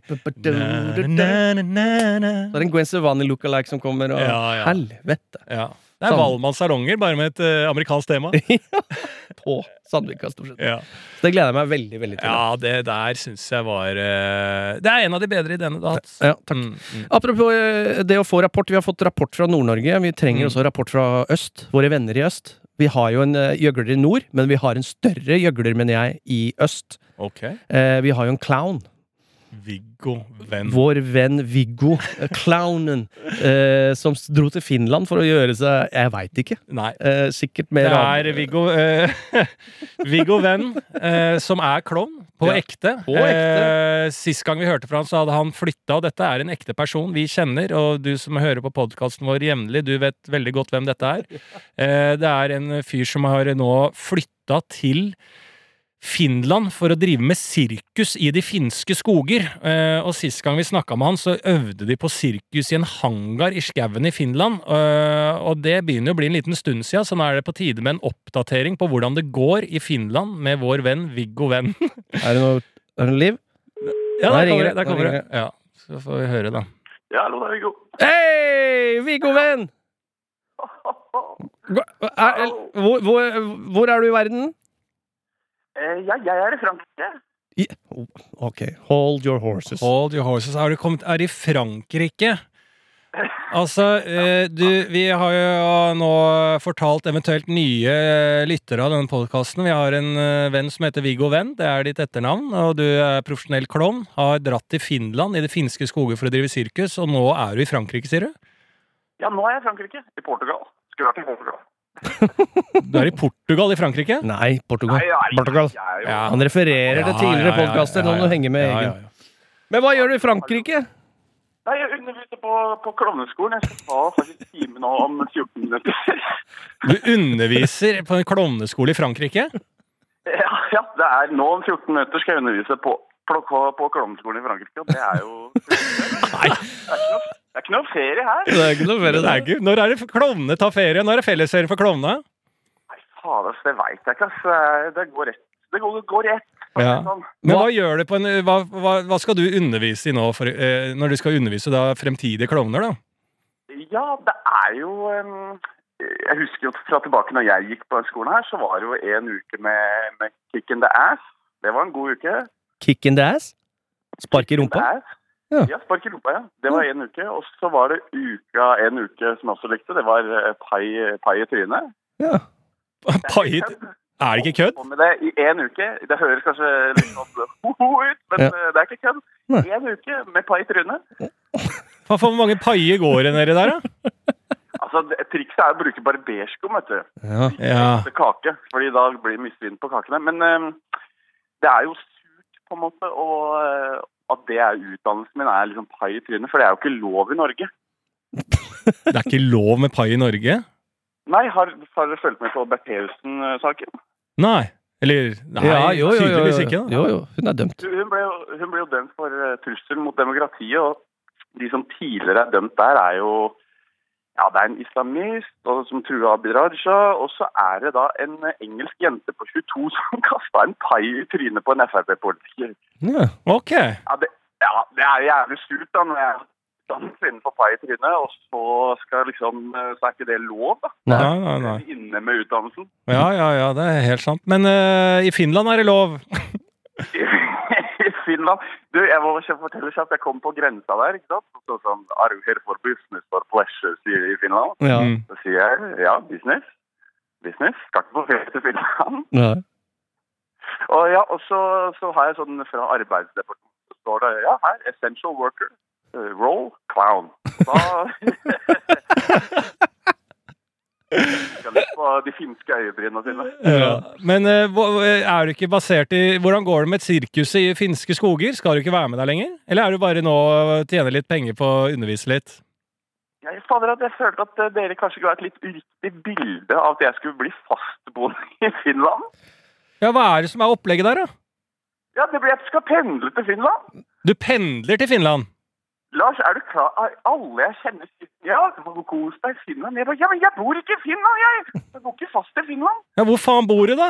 [SPEAKER 3] Så er det en Gwen Stefani lookalike som kommer, og
[SPEAKER 2] Ja, ja.
[SPEAKER 3] helvete!
[SPEAKER 2] Ja. Det er
[SPEAKER 3] Sånn.
[SPEAKER 2] Valmanns salonger, bare med et eh, amerikansk tema.
[SPEAKER 3] På Sandvika, stort sett.
[SPEAKER 2] Ja,
[SPEAKER 3] Det gleder jeg meg veldig, veldig til.
[SPEAKER 2] ja det der syns jeg var eh, Det er en av de bedre ideene du har hatt.
[SPEAKER 3] Ja, eh, takk.
[SPEAKER 2] Mm, mm.
[SPEAKER 3] Apropos eh, det å få rapport. Vi har fått rapport fra Nord-Norge. Vi trenger
[SPEAKER 2] Mm.
[SPEAKER 3] også rapport fra øst. Våre venner i øst. Vi har jo en eh, gjøgler i nord, men vi har en større gjøgler, mener jeg, i øst.
[SPEAKER 2] Ok.
[SPEAKER 3] Eh, vi har jo en clown.
[SPEAKER 2] Viggo Venn.
[SPEAKER 3] Vår venn Viggo, eh, clownen, eh, som s- dro til Finland for å gjøre seg Jeg veit ikke.
[SPEAKER 2] Nei.
[SPEAKER 3] Eh, sikkert med
[SPEAKER 2] Det
[SPEAKER 3] rad-
[SPEAKER 2] er Viggo eh, Viggo Venn, eh, som er klovn. På
[SPEAKER 3] Ja.
[SPEAKER 2] ekte.
[SPEAKER 3] På ekte.
[SPEAKER 2] Eh, sist gang vi hørte fra han, så hadde han flytta, og dette er en ekte person vi kjenner. Og du som hører på podkasten vår jevnlig, du vet veldig godt hvem dette er. Eh, det er en fyr som har nå flytta til Finland for å drive med sirkus i de finske skoger. Eh, og Sist gang vi snakka med han, så øvde de på sirkus i en hangar i skauen i Finland. Eh, og Det begynner å bli en liten stund sia, så nå er det på tide med en oppdatering på hvordan det går i Finland med vår venn Viggo Venn.
[SPEAKER 3] Er det noe er det noe liv?
[SPEAKER 2] Ja,
[SPEAKER 3] Der
[SPEAKER 2] der
[SPEAKER 3] ringer
[SPEAKER 2] kommer
[SPEAKER 3] det,
[SPEAKER 2] det. Der
[SPEAKER 3] der
[SPEAKER 2] kommer
[SPEAKER 3] ringer
[SPEAKER 2] det. Ja, så får vi høre, da.
[SPEAKER 5] Ja, hallo, det er Viggo.
[SPEAKER 3] Hei, Viggo-venn! Hva- er- er- Hvor, hvor, hvor er du i verden?
[SPEAKER 5] Eh, ja, jeg er i Frankrike.
[SPEAKER 3] I, ok, hold your horses.
[SPEAKER 2] Hold your horses. Har du kommet Er i Frankrike? Altså, eh, du, vi har jo nå fortalt eventuelt nye eh, lyttere av denne podkasten. Vi har en eh, venn som heter Viggo Venn, det er ditt etternavn. Og du er profesjonell klovn. Har dratt til Finland, i de finske skoger, for å drive sirkus. Og nå er du i Frankrike, sier du?
[SPEAKER 5] Ja, nå er jeg i Frankrike. I Portugal. Skulle vært i Portugal.
[SPEAKER 2] Du er i Portugal i Frankrike?
[SPEAKER 3] Nei, Portugal.
[SPEAKER 5] Nei, jeg er-
[SPEAKER 3] Portugal.
[SPEAKER 5] Jeg er jo
[SPEAKER 2] Ja.
[SPEAKER 3] Han refererer til tidligere podkaster. Nå må du henge med
[SPEAKER 2] Ja,
[SPEAKER 3] egen.
[SPEAKER 2] ja, ja.
[SPEAKER 3] Men hva gjør du i Frankrike?
[SPEAKER 5] Nei, jeg underviser på, på klovneskolen. Jeg skal ta faktisk time nå om 14 minutter.
[SPEAKER 2] Du underviser på en klovneskole i Frankrike?
[SPEAKER 5] ja, ja, det er nå om 14 minutter skal jeg undervise på, på, på klovneskolen i Frankrike. Og det er jo
[SPEAKER 2] Nei.
[SPEAKER 5] Det er ikke noe, det er ikke noe ferie her.
[SPEAKER 3] Det er ikke noe
[SPEAKER 2] Det er ikke, når er det klovnene tar ferie? Når er det fellesferie for klovnene?
[SPEAKER 5] Nei, fader, ass, det veit jeg ikke, ass. Det går rett. Det går, går rett. for å si
[SPEAKER 2] Ja.
[SPEAKER 5] det sånn.
[SPEAKER 2] Men hva, gjør det på en, hva, hva, hva skal du undervise i nå, for, eh, når du skal undervise da fremtidige klovner, da?
[SPEAKER 5] Ja, det er jo em, Jeg husker jo fra tilbake når jeg gikk på skolen her, så var det jo en uke med, med kick in the ass. Det var en god uke.
[SPEAKER 3] Kick in the ass? Spark i rumpa?
[SPEAKER 5] Ass.
[SPEAKER 3] Ja.
[SPEAKER 5] Ja. spark i rumpa, ja. Det var en uke. Og så var det uka en uke som jeg også likte. Det var eh, pai, pai i trynet.
[SPEAKER 3] Ja.
[SPEAKER 2] Pai, er det ikke kødd?
[SPEAKER 5] Og med det i en uke. Det høres kanskje litt sånn ho-ho ut, men
[SPEAKER 3] Ja.
[SPEAKER 5] eh, det er ikke kødd.
[SPEAKER 3] Nei.
[SPEAKER 5] En uke med pai i trynet.
[SPEAKER 2] Faen, Hvor mange paier går det nedi der, da?
[SPEAKER 5] Altså, det, trikset er å bruke barberskum, vet du.
[SPEAKER 3] ja.
[SPEAKER 2] Ja.
[SPEAKER 5] til kake, fordi da blir det misvind på kakene. Men eh, det er jo surt, på en måte, og eh, at det er utdannelsen min, er liksom pai i trynet. For det er jo ikke lov i Norge.
[SPEAKER 2] Det er ikke lov med pai i Norge?
[SPEAKER 5] Nei, har, har dere fulgt med på Bertheussen-saken?
[SPEAKER 2] Nei. Eller nei,
[SPEAKER 3] Ja, jo, jo, jo, jo.
[SPEAKER 2] tydeligvis ikke. Da.
[SPEAKER 3] Jo, jo, hun er dømt.
[SPEAKER 5] Hun hun ble, jo, hun ble jo dømt for eh, trussel mot demokratiet, og de som tidligere er dømt der, er jo ja, det er en islamist og, som truer Abid Raja, og så er det da en eh, engelsk jente på 22 som kasta en pai i trynet på en Frp-politiker.
[SPEAKER 3] Ja.
[SPEAKER 2] Ok.
[SPEAKER 5] Ja, det, ja, det er jævlig surt da, når jeg danser innenfor pai i trynet, og så, skal liksom, eh, så er ikke det lov, da.
[SPEAKER 3] Nei.
[SPEAKER 2] Nei, nei, nei.
[SPEAKER 5] Inne med utdannelsen.
[SPEAKER 2] Ja, ja, ja, det er helt sant. Men eh, i Finland er det lov.
[SPEAKER 5] i Finland. Du, jeg må ikke fortelle kjapt. Jeg kom på grensa der, ikke sant? Så sånn, Are you here for business for pleasure, sier de i Finland.
[SPEAKER 3] Ja.
[SPEAKER 2] Mm.
[SPEAKER 5] Så sier jeg, ja, business. Business. Skal ikke på ferie til Finland.
[SPEAKER 3] Nei.
[SPEAKER 5] Og ja, og så, så har jeg sånn fra arbeidsdepartementet, så står det, ja, her, essential worker. eh, Roll clown. Da Skal litt på de finske øyebrynene sine.
[SPEAKER 2] Ja. Men eh, hva- er du ikke basert i Hvordan går det med sirkuset i finske skoger? Skal du ikke være med der lenger? Eller er du bare nå eh, tjener litt penger på å undervise litt?
[SPEAKER 5] Jeg, fader, at jeg følte at eh, dere kanskje ga et litt uriktig bilde av at jeg skulle bli fastboende i Finland.
[SPEAKER 2] Ja, hva er det som er opplegget der, da?
[SPEAKER 5] Ja, det blir at du skal pendle til Finland.
[SPEAKER 2] Du pendler til Finland.
[SPEAKER 5] Lars, er du klar? Alle jeg kjenner sier ja, du må kos deg i Finland. Jeg bare, ja, men jeg bor ikke i Finland, jeg! Jeg bor ikke fast til Finland.
[SPEAKER 2] Ja, hvor faen bor du, da?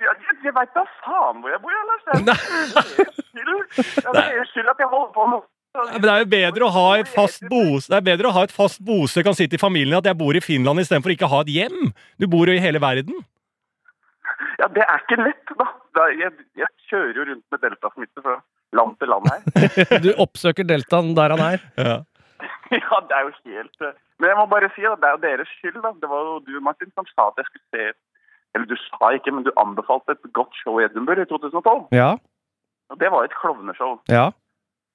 [SPEAKER 5] Ja, jeg jeg veit da faen hvor jeg bor, jeg, Lars. Det er deres skyld. Ja, det er deres skyld at jeg holder på med
[SPEAKER 2] Ja, Men det er jo bedre å ha et fast bose Det er bedre å ha et fast bose kan si til familien at jeg bor i Finland istedenfor ikke å ha et hjem. Du bor jo i hele verden.
[SPEAKER 5] Ja, det er ikke lett, da. Det er- Jeg, jeg kjører jo rundt med deltasmitte fra land til land her.
[SPEAKER 3] Du oppsøker deltaen der han er.
[SPEAKER 2] Ja.
[SPEAKER 5] Ja, det er jo helt eh, Men jeg må bare si at det er jo deres skyld, da. Det var jo du, Martin, som sa at jeg skulle se Eller du sa ikke, men du anbefalte et godt show i Edinburgh i 2012.
[SPEAKER 3] Ja.
[SPEAKER 5] Og det var et klovneshow.
[SPEAKER 3] Ja.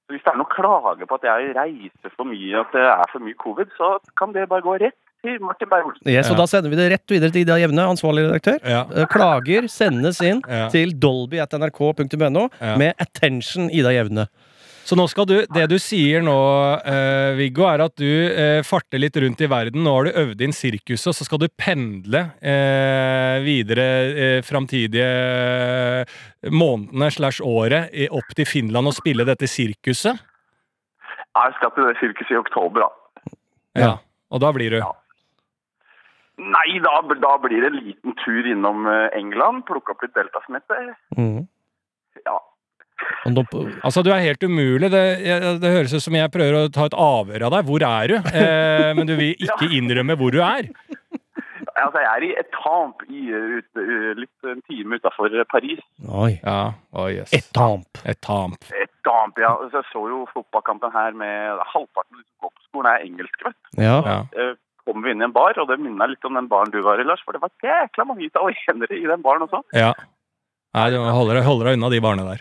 [SPEAKER 5] Så hvis det er noen klager på at jeg reiser for mye, at det er for mye covid, så kan det bare gå rett til Martin Beyer-Olsen.
[SPEAKER 3] Yes, og
[SPEAKER 2] Ja.
[SPEAKER 3] da sender vi det rett videre til Ida Jevne, ansvarlig redaktør.
[SPEAKER 2] Ja.
[SPEAKER 3] Eh, Klager sendes inn
[SPEAKER 2] Ja.
[SPEAKER 3] til dolby.nrk.no
[SPEAKER 2] Ja.
[SPEAKER 3] med 'attention Ida Jevne'.
[SPEAKER 2] Så nå skal du, det du sier nå, eh, Viggo, er at du eh, farter litt rundt i verden. Nå har du øvd inn sirkuset, og så skal du pendle eh, videre eh, framtidige eh, månedene slash året i- opp til Finland og spille dette sirkuset.
[SPEAKER 5] Jeg skal til det sirkuset i oktober, da.
[SPEAKER 3] Ja.
[SPEAKER 2] Og da blir du.
[SPEAKER 5] Ja. Nei, da, da blir det en liten tur innom eh, England, plukke opp litt deltasmitte.
[SPEAKER 3] Mm.
[SPEAKER 5] Ja.
[SPEAKER 3] Og nå på-
[SPEAKER 2] Altså, du er helt umulig. Det, jeg- det høres ut som jeg prøver å ta et avhør av deg. Hvor er du? Eh, men du vil ikke innrømme hvor du er.
[SPEAKER 5] Altså, jeg er i Etampe, i, eh, ut, eh, litt en time utafor Paris.
[SPEAKER 3] Oi.
[SPEAKER 2] Ja. Å, jøss.
[SPEAKER 3] Etamp.
[SPEAKER 2] Et tamp.
[SPEAKER 5] Etampe, ja. Så jeg så jo fotballkampen her med halvparten av de som går på skolen, er engelske, vet du.
[SPEAKER 3] Ja.
[SPEAKER 2] Ja.
[SPEAKER 5] Eh, Kommer vi inn i en bar, og det minner meg litt om den baren du var i, Lars. For det var jækla mange italienere i den baren også.
[SPEAKER 2] ja. Nei, du holder deg- holder deg unna de barna der.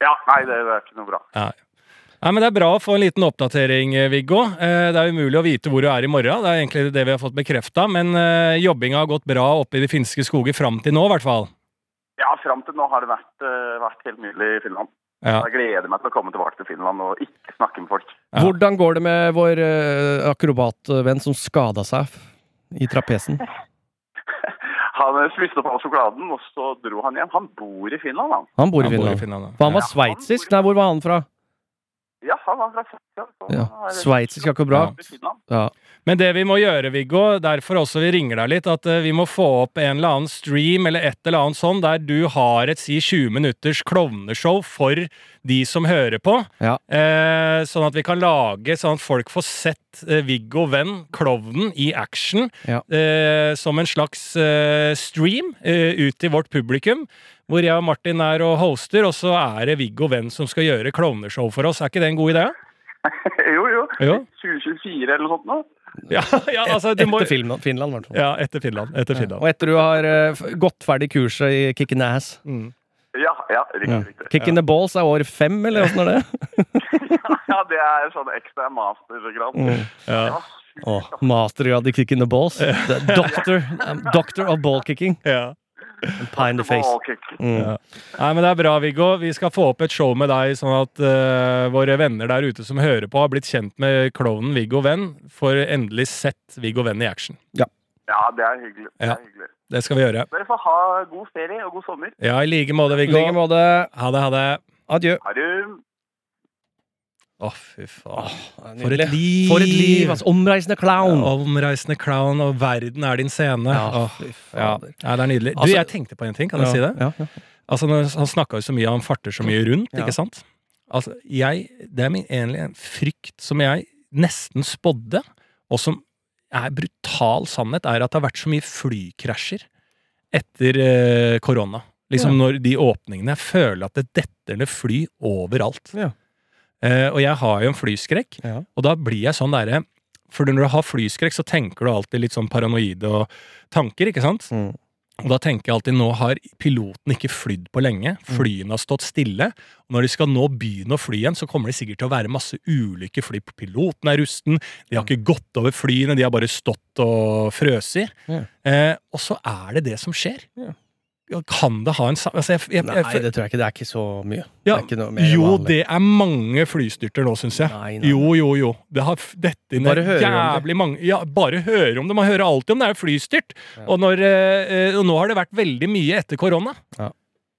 [SPEAKER 5] Ja, nei, det er ikke noe bra.
[SPEAKER 2] Nei, men Det er bra å få en liten oppdatering, eh, Viggo. Eh, Det er umulig å vite hvor du er i morgen. Det er egentlig det vi har fått bekrefta, men eh, jobbinga har gått bra oppe i de finske skoger fram til nå, i hvert fall.
[SPEAKER 5] Ja, fram til nå har det vært, eh, vært helt nylig i Finland.
[SPEAKER 2] Ja.
[SPEAKER 5] Jeg gleder meg til å komme tilbake til Finland og ikke snakke med folk.
[SPEAKER 2] Ja.
[SPEAKER 3] Hvordan går det med vår eh, akrobatvenn som skada seg i trapesen?
[SPEAKER 5] Han eh, spiste opp all sjokoladen, og så dro han hjem. Han bor i Finland, han.
[SPEAKER 3] Han bor i
[SPEAKER 2] Han bor i
[SPEAKER 3] Finland.
[SPEAKER 2] Finland.
[SPEAKER 3] For han var
[SPEAKER 5] Ja, han
[SPEAKER 3] sveitsisk?
[SPEAKER 5] bor i-
[SPEAKER 3] Nei, hvor var han fra?
[SPEAKER 5] Ja, han var fra Sveits.
[SPEAKER 3] Ja. Sveitsisk er ikke bra. Ja.
[SPEAKER 2] Men det vi må gjøre, Viggo, derfor også vi ringer deg litt, at eh, vi må få opp en eller annen stream eller et eller annet sånn, der du har et si 20 minutters klovneshow for de som hører på.
[SPEAKER 3] Ja.
[SPEAKER 2] Eh, sånn at vi kan lage sånn at folk får sett eh, Viggo Venn, klovnen, i action.
[SPEAKER 3] Ja.
[SPEAKER 2] Eh, som en slags eh, stream eh, ut til vårt publikum. Hvor jeg og Martin er og hoster, og så er det Viggo Venn som skal gjøre klovneshow for oss. Er ikke det en god idé?
[SPEAKER 5] jo, jo.
[SPEAKER 2] Jo.
[SPEAKER 5] 2024 eller noe sånt nå.
[SPEAKER 2] Ja, ja, altså, du
[SPEAKER 3] etter
[SPEAKER 2] må...
[SPEAKER 3] Finland, Finland, i hvert fall.
[SPEAKER 2] Ja, etter Finland. Etter
[SPEAKER 3] Ja.
[SPEAKER 2] Finland.
[SPEAKER 3] Og etter du har eh, f- gått ferdig kurset i kicking ass.
[SPEAKER 5] Ja, ja, riktig. riktig.
[SPEAKER 3] Kicking the balls er år fem, eller åssen er det?
[SPEAKER 5] Ja, det er sånn ekstra mastergrad.
[SPEAKER 3] Mm.
[SPEAKER 2] Ja.
[SPEAKER 5] Ja.
[SPEAKER 3] Oh, mastergrad i kicking the balls. Det er Doctor, um, doctor of ball kicking.
[SPEAKER 2] Ja.
[SPEAKER 3] Pie in the face.
[SPEAKER 5] Åh,
[SPEAKER 3] Mm.
[SPEAKER 2] Nei, men Det er bra, Viggo. Vi skal få opp et show med deg, sånn at eh, våre venner der ute som hører på, har blitt kjent med klovnen Viggo Venn, får endelig sett Viggo Venn i action.
[SPEAKER 5] Ja, det er hyggelig. Det,
[SPEAKER 2] Ja.
[SPEAKER 5] er hyggelig.
[SPEAKER 2] Det skal vi gjøre.
[SPEAKER 5] Dere får ha god ferie og god sommer.
[SPEAKER 2] Ja, i like måte,
[SPEAKER 3] I like
[SPEAKER 2] Viggo.
[SPEAKER 3] måte.
[SPEAKER 2] Ha det, ha det.
[SPEAKER 3] Adjø.
[SPEAKER 5] Ha det.
[SPEAKER 2] Å, fy faen. For
[SPEAKER 3] Nydelig.
[SPEAKER 2] et liv!
[SPEAKER 3] For et liv! Altså, omreisende clown.
[SPEAKER 2] Omreisende clown, og verden er din scene.
[SPEAKER 3] Ja,
[SPEAKER 2] Åh,
[SPEAKER 3] fy
[SPEAKER 2] ja.
[SPEAKER 3] fader.
[SPEAKER 2] ja, det er nydelig. Du,
[SPEAKER 3] Altså-
[SPEAKER 2] jeg tenkte på en ting, kan jeg si det?
[SPEAKER 3] Ja, ja.
[SPEAKER 2] Altså, når han snakka jo så mye, han farter så mye rundt,
[SPEAKER 3] Ja.
[SPEAKER 2] ikke sant? Altså, jeg, det er min egentlig en frykt som jeg nesten spådde, og som er brutal sannhet, er at det har vært så mye flykrasjer etter eh, korona. Liksom når de åpningene Jeg føler at det detter ned fly overalt.
[SPEAKER 3] Ja.
[SPEAKER 2] Eh, og jeg har jo en flyskrekk,
[SPEAKER 3] Ja.
[SPEAKER 2] og da blir jeg sånn derre For når du har flyskrekk, så tenker du alltid litt sånn paranoide og tanker, ikke sant?
[SPEAKER 3] Mm.
[SPEAKER 2] Og da tenker jeg alltid nå har piloten ikke flydd på lenge.
[SPEAKER 3] Mm.
[SPEAKER 2] Flyene har stått stille. Og når de skal nå begynne å fly igjen, så kommer det sikkert til å være masse ulykker fordi piloten er rusten. De
[SPEAKER 3] Mm.
[SPEAKER 2] har ikke gått over flyene, de har bare stått og frøst i.
[SPEAKER 3] Ja.
[SPEAKER 2] Eh, og så er det det som skjer.
[SPEAKER 3] Ja.
[SPEAKER 2] Ja, Kan det ha en sam... Altså, jeg, jeg, jeg,
[SPEAKER 3] Nei, det tror jeg ikke. Det er ikke så mye.
[SPEAKER 2] Ja,
[SPEAKER 3] det er ikke noe mer
[SPEAKER 2] jo,
[SPEAKER 3] vanlig.
[SPEAKER 2] det er mange flystyrter nå, syns jeg.
[SPEAKER 3] Nei, nei, nei.
[SPEAKER 2] Jo, jo, jo. Det har f- dette inn
[SPEAKER 3] Bare hører om
[SPEAKER 2] jævlig mange Ja, bare høre om det. Man hører alltid om det er flystyrt.
[SPEAKER 3] Ja.
[SPEAKER 2] Og, når, eh, eh, og nå har det vært veldig mye etter korona.
[SPEAKER 3] Ja.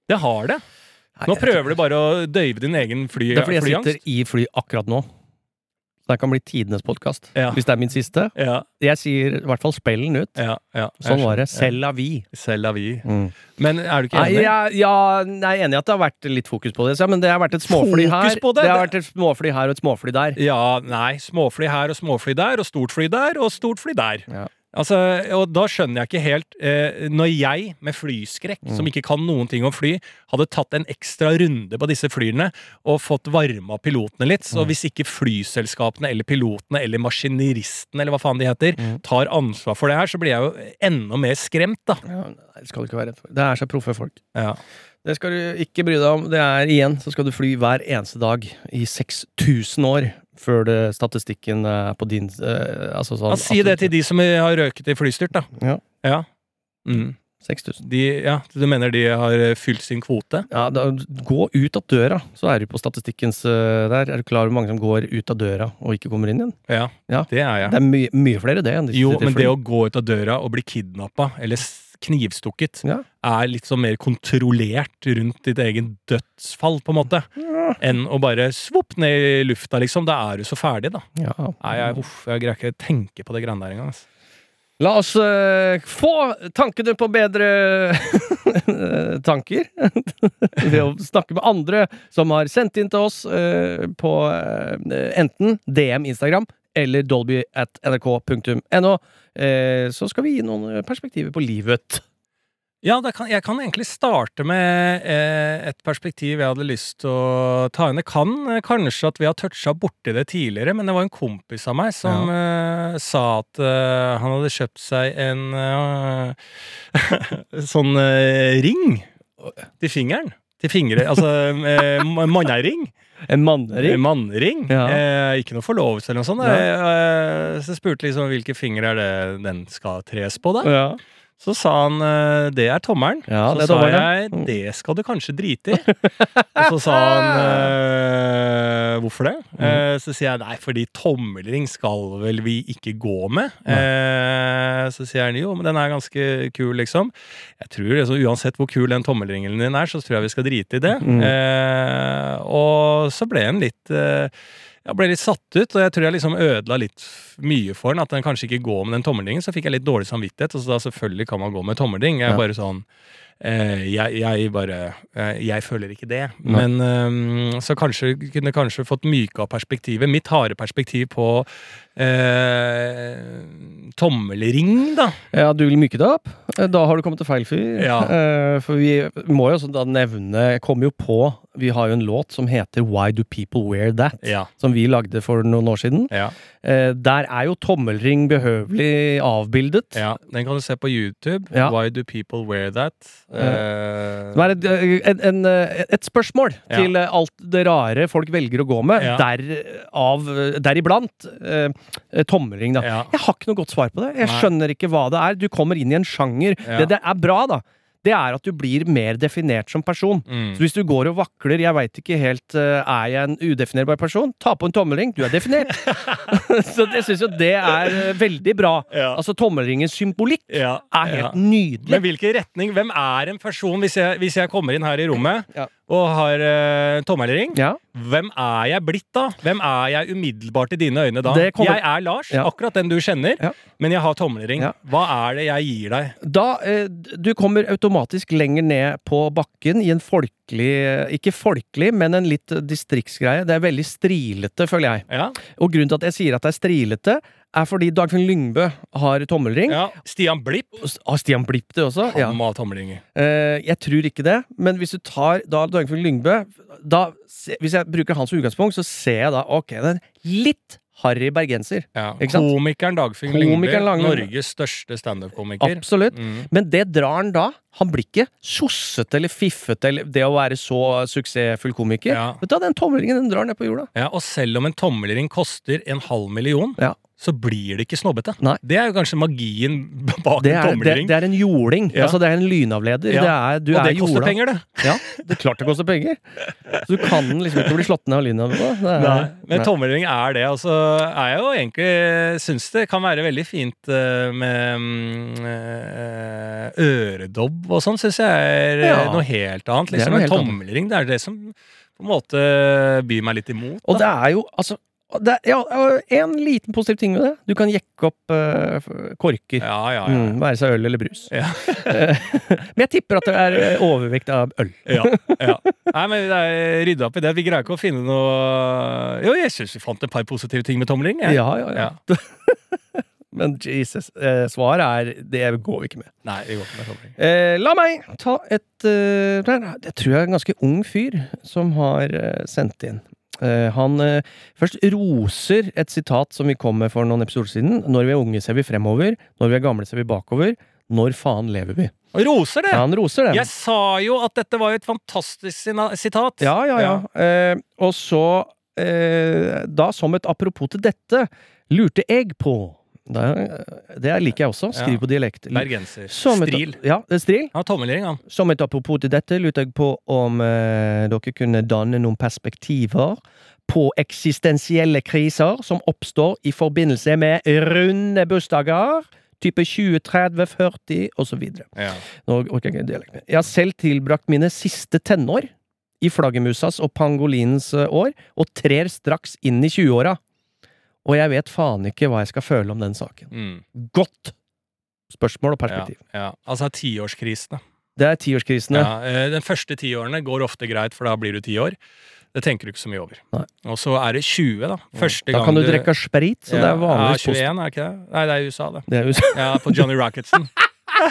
[SPEAKER 2] Det har det.
[SPEAKER 3] Nei,
[SPEAKER 2] Nå
[SPEAKER 3] jeg tror-
[SPEAKER 2] prøver du bare å døyve din egen fly,
[SPEAKER 3] Det er fordi jeg
[SPEAKER 2] flyangst.
[SPEAKER 3] sitter i fly akkurat nå. Så det kan bli tidenes podkast.
[SPEAKER 2] Ja.
[SPEAKER 3] Hvis det er min siste.
[SPEAKER 2] Ja,
[SPEAKER 3] Jeg sier i hvert fall spellen ut.
[SPEAKER 2] ja, ja. Jeg
[SPEAKER 3] Sånn
[SPEAKER 2] skjønner.
[SPEAKER 3] var det. Selv av vi.
[SPEAKER 2] Ja. Selv er vi.
[SPEAKER 3] Mm.
[SPEAKER 2] Men er du ikke
[SPEAKER 3] Nei,
[SPEAKER 2] enig?
[SPEAKER 3] jeg, ja, jeg er enig i at det har vært litt fokus på det, så- men det har vært et småfly her.
[SPEAKER 2] Fokus på det?
[SPEAKER 3] det har vært et småfly her og et småfly der.
[SPEAKER 2] Ja, nei. Småfly her og småfly der, og stort fly der og stort fly der.
[SPEAKER 3] Ja.
[SPEAKER 2] Altså, og da skjønner jeg ikke helt eh, Når jeg, med flyskrekk,
[SPEAKER 3] Mm.
[SPEAKER 2] som ikke kan noen ting om fly, hadde tatt en ekstra runde på disse flyene og fått varma pilotene litt,
[SPEAKER 3] Mm.
[SPEAKER 2] så hvis ikke flyselskapene eller pilotene eller maskinistene eller hva faen de heter,
[SPEAKER 3] Mm.
[SPEAKER 2] tar ansvar for det her, så blir jeg jo enda mer skremt, da.
[SPEAKER 3] Ja, nei, det skal du ikke være redd for. Det er så proffe folk.
[SPEAKER 2] Ja.
[SPEAKER 3] Det skal du ikke bry deg om. Det er igjen, så skal du fly hver eneste dag i 6000 år før det, statistikken er på din eh, altså sånn,
[SPEAKER 2] Ja, si det til de som har røket i flystyrt, da.
[SPEAKER 3] Ja.
[SPEAKER 2] ja. Mm.
[SPEAKER 3] 6000.
[SPEAKER 2] De, ja, du mener de har eh, fylt sin kvote?
[SPEAKER 3] Ja, da, gå ut av døra, så er du på statistikkens eh, der. Er du klar over hvor mange som går ut av døra og ikke kommer inn igjen?
[SPEAKER 2] Ja,
[SPEAKER 3] Ja.
[SPEAKER 2] det er jeg.
[SPEAKER 3] Det er mye, mye flere det enn de
[SPEAKER 2] Jo,
[SPEAKER 3] sitter i
[SPEAKER 2] men
[SPEAKER 3] fly.
[SPEAKER 2] det å gå ut av døra og bli kidnappa eller s- knivstukket
[SPEAKER 3] Ja.
[SPEAKER 2] er litt sånn mer kontrollert rundt ditt egen dødsfall, på en måte, enn å bare svopp ned i lufta, liksom. Da er du så ferdig, da.
[SPEAKER 3] ja.
[SPEAKER 2] Nei, jeg, uff, jeg greier ikke å tenke på det greiene der engang. Altså.
[SPEAKER 3] La oss eh, få tankene på bedre tanker ved å snakke med andre som har sendt inn til oss eh, på eh, enten DM Instagram eller dolby at nrk.no. Eh, så skal vi gi noen perspektiver på livet.
[SPEAKER 2] Ja, da kan, jeg kan egentlig starte med eh, et perspektiv jeg hadde lyst til å ta inn. Det kan eh, kanskje at vi har toucha borti det tidligere, men det var en kompis av meg som eh, sa at eh, han hadde kjøpt seg en eh, sånn eh, ring til fingeren. Til fingre, altså eh, ma- mannering.
[SPEAKER 3] En mannering.
[SPEAKER 2] Mannering.
[SPEAKER 3] Ja.
[SPEAKER 2] Eh, ikke noe forlovelse eller noe sånt. Eh, eh, så jeg spurte liksom hvilke fingre er det den skal tres på, da.
[SPEAKER 3] Ja.
[SPEAKER 2] Så sa han eh, det er tommelen.
[SPEAKER 3] Ja,
[SPEAKER 2] så
[SPEAKER 3] Mm. det er
[SPEAKER 2] sa
[SPEAKER 3] tommelen.
[SPEAKER 2] jeg det skal du kanskje drite i. Og så sa han eh, hvorfor det?
[SPEAKER 3] Mm.
[SPEAKER 2] Eh, så sier jeg nei, fordi tommelring skal vel vi ikke gå med. Eh, så sier han jo, men den er ganske kul, liksom. Jeg tror altså, Uansett hvor kul den tommelringen din er, så tror jeg vi skal drite i det.
[SPEAKER 3] Mm.
[SPEAKER 2] Eh, og så ble han litt eh, jeg ble litt satt ut, og jeg tror jeg liksom ødela litt mye for den. At den kanskje ikke går med den tommelringen. Så fikk jeg litt dårlig samvittighet, og så da selvfølgelig kan man gå med tommelring. Jeg
[SPEAKER 3] Ja.
[SPEAKER 2] er bare sånn eh, jeg, jeg bare eh, Jeg føler ikke det.
[SPEAKER 3] Nei.
[SPEAKER 2] Men eh, Så kanskje kunne kanskje fått myka perspektivet. Mitt harde perspektiv på eh, tommelring, da.
[SPEAKER 3] Ja, du vil myke det opp? Eh, Da har du kommet til feil fyr.
[SPEAKER 2] Ja.
[SPEAKER 3] Eh, For vi må jo også da nevne Jeg kom jo på Vi har jo en låt som heter Why Do People Wear That?
[SPEAKER 2] Ja.
[SPEAKER 3] Som vi lagde for noen år siden.
[SPEAKER 2] Ja,
[SPEAKER 3] Eh, der er jo tommelring behøvelig avbildet.
[SPEAKER 2] ja. Den kan du se på YouTube.
[SPEAKER 3] Ja.
[SPEAKER 2] Why do people wear that? Eh,
[SPEAKER 3] Som er et, eh, en, en, et spørsmål
[SPEAKER 2] Ja.
[SPEAKER 3] til eh, alt det rare folk velger å gå med,
[SPEAKER 2] Ja.
[SPEAKER 3] der eh, av, deriblant eh, tommelring. Da.
[SPEAKER 2] Ja.
[SPEAKER 3] Jeg har ikke noe godt svar på det. Jeg
[SPEAKER 2] Nei.
[SPEAKER 3] skjønner ikke hva det er. Du kommer inn i en sjanger.
[SPEAKER 2] Ja.
[SPEAKER 3] Det, det er bra, da. det er at du blir mer definert som person.
[SPEAKER 2] Mm.
[SPEAKER 3] Så hvis du går og vakler 'jeg veit ikke helt, eh, er jeg en udefinerbar person', ta på en tommelring, du er definert! så jeg syns jo det er eh, veldig bra.
[SPEAKER 2] Ja.
[SPEAKER 3] Altså tommelringens symbolikk
[SPEAKER 2] Ja,
[SPEAKER 3] er
[SPEAKER 2] ja.
[SPEAKER 3] helt nydelig.
[SPEAKER 2] Men hvilken retning? Hvem er en person, hvis jeg, hvis jeg kommer inn her i rommet
[SPEAKER 3] Ja.
[SPEAKER 2] og har uh, tommelring?
[SPEAKER 3] Ja.
[SPEAKER 2] Hvem er jeg blitt da? Hvem er jeg umiddelbart i dine øyne da?
[SPEAKER 3] Det kommer-
[SPEAKER 2] Jeg er Lars,
[SPEAKER 3] Ja.
[SPEAKER 2] akkurat den du kjenner,
[SPEAKER 3] Ja.
[SPEAKER 2] men jeg har tommelring.
[SPEAKER 3] Ja.
[SPEAKER 2] Hva er det jeg gir deg?
[SPEAKER 3] Da, eh, du kommer automatisk lenger ned på bakken i en folkelig eh, Ikke folkelig, men en litt distriktsgreie. Det er veldig strilete, føler jeg.
[SPEAKER 2] Ja.
[SPEAKER 3] Og grunnen til at jeg sier at det er strilete, er fordi Dagfinn Lyngbø har tommelring.
[SPEAKER 2] Ja. Stian Blipp,
[SPEAKER 3] Og s- Har Stian Blipp det også?
[SPEAKER 2] han
[SPEAKER 3] Ja.
[SPEAKER 2] må ha tommelringer.
[SPEAKER 3] Eh, jeg tror ikke det, men hvis du tar da Dagfinn Lyngbø da, se, Hvis jeg bruker han som utgangspunkt, så ser jeg da ok, det er en litt harry bergenser.
[SPEAKER 2] Ja.
[SPEAKER 3] Ikke sant?
[SPEAKER 2] Komikeren Dagfinn Lyngby,
[SPEAKER 3] Komikeren Lange-
[SPEAKER 2] Norges største standup-komiker.
[SPEAKER 3] Absolutt.
[SPEAKER 2] Mm.
[SPEAKER 3] Men det drar han da. Han blir ikke sossete eller fiffete eller det å være så suksessfull komiker.
[SPEAKER 2] Ja.
[SPEAKER 3] Vet du, hva, Den tommelringen den drar ned på jorda.
[SPEAKER 2] Ja, og selv om en tommelring koster en halv million,
[SPEAKER 3] Ja.
[SPEAKER 2] så blir det ikke snobbete.
[SPEAKER 3] Nei.
[SPEAKER 2] Det er jo kanskje magien bak
[SPEAKER 3] Det
[SPEAKER 2] en
[SPEAKER 3] er, det,
[SPEAKER 2] tommelring.
[SPEAKER 3] det er en joling.
[SPEAKER 2] Ja.
[SPEAKER 3] Altså, det er en lynavleder.
[SPEAKER 2] Ja.
[SPEAKER 3] Det er, du
[SPEAKER 2] og det
[SPEAKER 3] er
[SPEAKER 2] koster
[SPEAKER 3] jorda.
[SPEAKER 2] penger, det.
[SPEAKER 3] Ja, det er klart det koster penger. Så du kan liksom ikke bli slått ned av lynavleder. Det er-
[SPEAKER 2] Nei, men
[SPEAKER 3] Nei.
[SPEAKER 2] tommelring er det. Altså, er jeg jo egentlig syns det kan være veldig fint eh, med mm, eh, øredobb og sånn, syns jeg er eh,
[SPEAKER 3] Ja.
[SPEAKER 2] noe helt annet.
[SPEAKER 3] Det
[SPEAKER 2] Liksom.
[SPEAKER 3] er noe
[SPEAKER 2] Men
[SPEAKER 3] helt annet.
[SPEAKER 2] tommelring, det er det som på en måte byr meg litt imot.
[SPEAKER 3] Og det er jo altså det er, ja, og en liten positiv ting med det. Du kan jekke opp eh, f- korker.
[SPEAKER 2] Ja, ja, ja.
[SPEAKER 3] Mm, være seg øl eller brus.
[SPEAKER 2] Ja.
[SPEAKER 3] Men jeg tipper at det er eh, overvekt av øl.
[SPEAKER 2] Ja, ja. Nei, men det er rydda opp i det. Vi greier ikke å finne noe Jo, jeg syns vi fant et par positive ting med tomling. jeg.
[SPEAKER 3] Ja, ja, ja. Men Jesus, eh, svaret er det går vi ikke med.
[SPEAKER 2] Nei, vi går ikke med tomling.
[SPEAKER 3] Eh, la meg ta et eh, der, Jeg tror jeg er en ganske ung fyr som har eh, sendt inn. Eh, han eh, først roser et sitat som vi kom med for noen episoder siden. Når vi er unge, ser vi fremover. Når vi er gamle, ser vi bakover. Når faen lever vi?
[SPEAKER 2] Og roser det!
[SPEAKER 3] Ja, han roser den.
[SPEAKER 2] Jeg sa jo at dette var jo et fantastisk sina- sitat.
[SPEAKER 3] Ja, ja, ja. Eh, og så, eh, da som et apropos til dette, lurte jeg på Det, er- det liker jeg også. Skriv
[SPEAKER 2] Ja.
[SPEAKER 3] på dialekt.
[SPEAKER 2] Bergenser.
[SPEAKER 3] Som et-
[SPEAKER 2] Stril.
[SPEAKER 3] Ja, det er stril.
[SPEAKER 2] Han har tommelring, han.
[SPEAKER 3] Som et apropos til dette lurte jeg på om eh, dere kunne danne noen perspektiver på eksistensielle kriser som oppstår i forbindelse med runde bursdager. Type 20, 30, 40 osv.
[SPEAKER 2] Ja.
[SPEAKER 3] Nå orker jeg ikke dialekt mer. Jeg har selv tilbrakt mine siste tenår i flaggermusas og pangolinens eh, år, og trer straks inn i 20-åra. Og jeg vet faen ikke hva jeg skal føle om den saken.
[SPEAKER 2] Mm.
[SPEAKER 3] Godt spørsmål og
[SPEAKER 2] ja,
[SPEAKER 3] perspektiv.
[SPEAKER 2] ja. Altså tiårskrisene.
[SPEAKER 3] Det er tiårskrisene.
[SPEAKER 2] Ja, eh, den første tiårene går ofte greit, for da blir du ti år. Det tenker du ikke så mye over.
[SPEAKER 3] Nei. Mm.
[SPEAKER 2] Og så er det 20, da. Første
[SPEAKER 3] Da
[SPEAKER 2] gang
[SPEAKER 3] kan du drikke sprit, så det er vanligvis
[SPEAKER 2] Ja,
[SPEAKER 3] positivt.
[SPEAKER 2] 21, er det ikke det? Nei, det er i USA, det.
[SPEAKER 3] Det er jo
[SPEAKER 2] Ja, på Johnny Rocketson.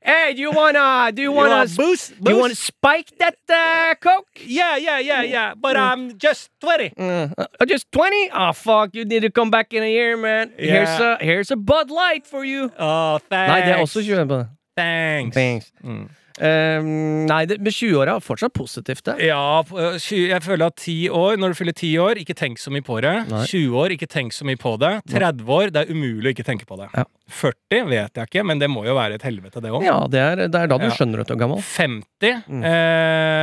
[SPEAKER 3] Hey, do you wanna, do you wanna, do
[SPEAKER 2] boost,
[SPEAKER 3] you wanna spike that uh, coke?
[SPEAKER 2] Yeah, yeah, yeah,
[SPEAKER 3] Mm.
[SPEAKER 2] yeah, but I'm just 20.
[SPEAKER 3] Uh, uh, just 20? Ah, fuck, you need to come back in a year, man. Here's,
[SPEAKER 2] Yeah.
[SPEAKER 3] a, here's a Bud Light for you.
[SPEAKER 2] Oh, thanks.
[SPEAKER 3] Nei, det er også 21 på det.
[SPEAKER 2] Thanks.
[SPEAKER 3] Thanks.
[SPEAKER 2] Mm.
[SPEAKER 3] Um, nei, det, med 20-åra er fortsatt positivt, det.
[SPEAKER 2] Ja, på, eh, tjue- jeg føler at 10 år, når du fyller 10 år, ikke tenk så mye på det.
[SPEAKER 3] Nei.
[SPEAKER 2] 20 år, ikke tenk så mye på det. 30 år, det er umulig å ikke tenke på det.
[SPEAKER 3] Ja.
[SPEAKER 2] 40 vet jeg ikke, men det må jo være et helvete, det òg.
[SPEAKER 3] Ja, Eh, det er, det er da du
[SPEAKER 2] Ja.
[SPEAKER 3] skjønner at du er gammel.
[SPEAKER 2] 50
[SPEAKER 3] Mm.
[SPEAKER 2] eh,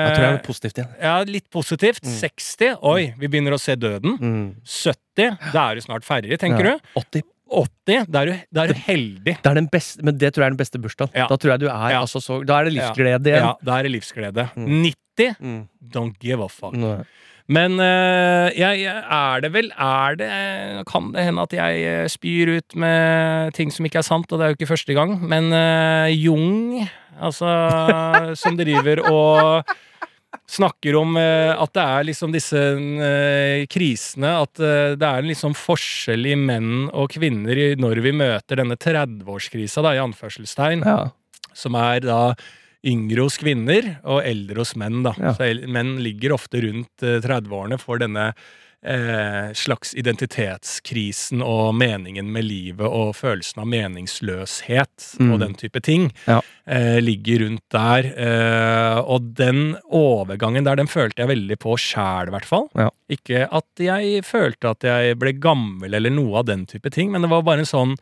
[SPEAKER 3] Jeg tror jeg er positivt igjen.
[SPEAKER 2] ja, litt positivt. 60 Oi, vi begynner å se døden.
[SPEAKER 3] Mm.
[SPEAKER 2] 70 Da er du snart ferdig, tenker
[SPEAKER 3] Ja.
[SPEAKER 2] du.
[SPEAKER 3] 80.
[SPEAKER 2] 80 Da er du, da er du heldig.
[SPEAKER 3] Det er den beste, men det tror jeg er den beste bursdagen.
[SPEAKER 2] Ja.
[SPEAKER 3] Da tror jeg du er
[SPEAKER 2] Ja.
[SPEAKER 3] altså så Da er det livsglede igjen.
[SPEAKER 2] Ja, da er det livsglede.
[SPEAKER 3] Mm.
[SPEAKER 2] 90
[SPEAKER 3] Mm.
[SPEAKER 2] Don't give a fuck.
[SPEAKER 3] Nå-
[SPEAKER 2] Men eh, jeg, jeg- er det vel er det, Kan det hende at jeg eh, spyr ut med ting som ikke er sant, og det er jo ikke første gang, men eh, Jung, altså Som driver og snakker om eh, at det er liksom disse eh, krisene At eh, det er en liksom forskjell i menn og kvinner i, når vi møter denne 30-årskrisa, da, i anførselstegn
[SPEAKER 3] Ja.
[SPEAKER 2] som er da yngre hos kvinner og eldre hos menn. Da.
[SPEAKER 3] Ja.
[SPEAKER 2] Så el- menn ligger ofte rundt eh, 30-årene for denne eh, slags identitetskrisen og meningen med livet og følelsen av meningsløshet
[SPEAKER 3] Mm.
[SPEAKER 2] og den type ting.
[SPEAKER 3] Ja.
[SPEAKER 2] Eh, ligger rundt der. Eh, og den overgangen der, den følte jeg veldig på sjæl, i hvert fall.
[SPEAKER 3] Ja.
[SPEAKER 2] Ikke at jeg følte at jeg ble gammel eller noe av den type ting, men det var bare en sånn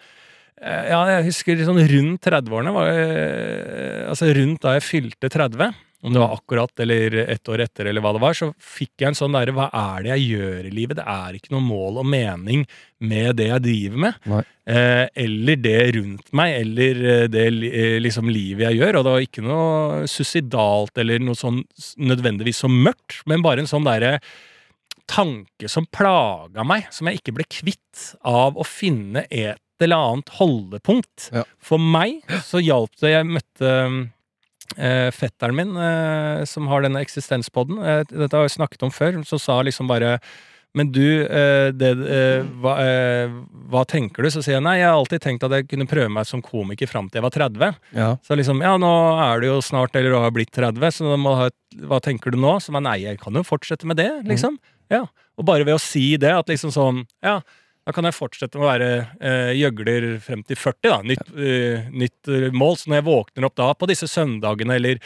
[SPEAKER 2] Eh, Ja, jeg husker sånn rundt 30-årene var eh, altså rundt da jeg fylte 30, om det var akkurat eller ett år etter, eller hva det var, så fikk jeg en sånn derre Hva er det jeg gjør i livet? Det er ikke noe mål og mening med det jeg driver med.
[SPEAKER 3] Nei.
[SPEAKER 2] Eh, eller det rundt meg, eller eh, det li- eh, liksom livet jeg gjør. Og det var ikke noe suicidalt eller noe sånn s- nødvendigvis så mørkt, men bare en sånn derre tanke som plaga meg, som jeg ikke ble kvitt av å finne et eller annet holdepunkt.
[SPEAKER 3] Ja.
[SPEAKER 2] For meg så hjalp det Jeg møtte eh, fetteren min, eh, som har denne eksistenspodden. Eh, dette har jeg snakket om før, som sa liksom bare men du, eh, det, eh, hva, eh, hva tenker du? Så sier jeg nei, jeg har alltid tenkt at jeg kunne prøve meg som komiker fram til jeg var 30.
[SPEAKER 3] Ja.
[SPEAKER 2] Så liksom, ja, nå er du jo snart eller du har blitt 30, så da må du ha et, hva tenker du nå? Så man, nei, jeg kan jo fortsette med det, liksom. Ja. Og bare ved å si det, at liksom sånn, ja, da kan jeg fortsette med å være eh, gjøgler frem til 40, da. Nytt, eh, nytt eh, mål. Så når jeg våkner opp da på disse søndagene eller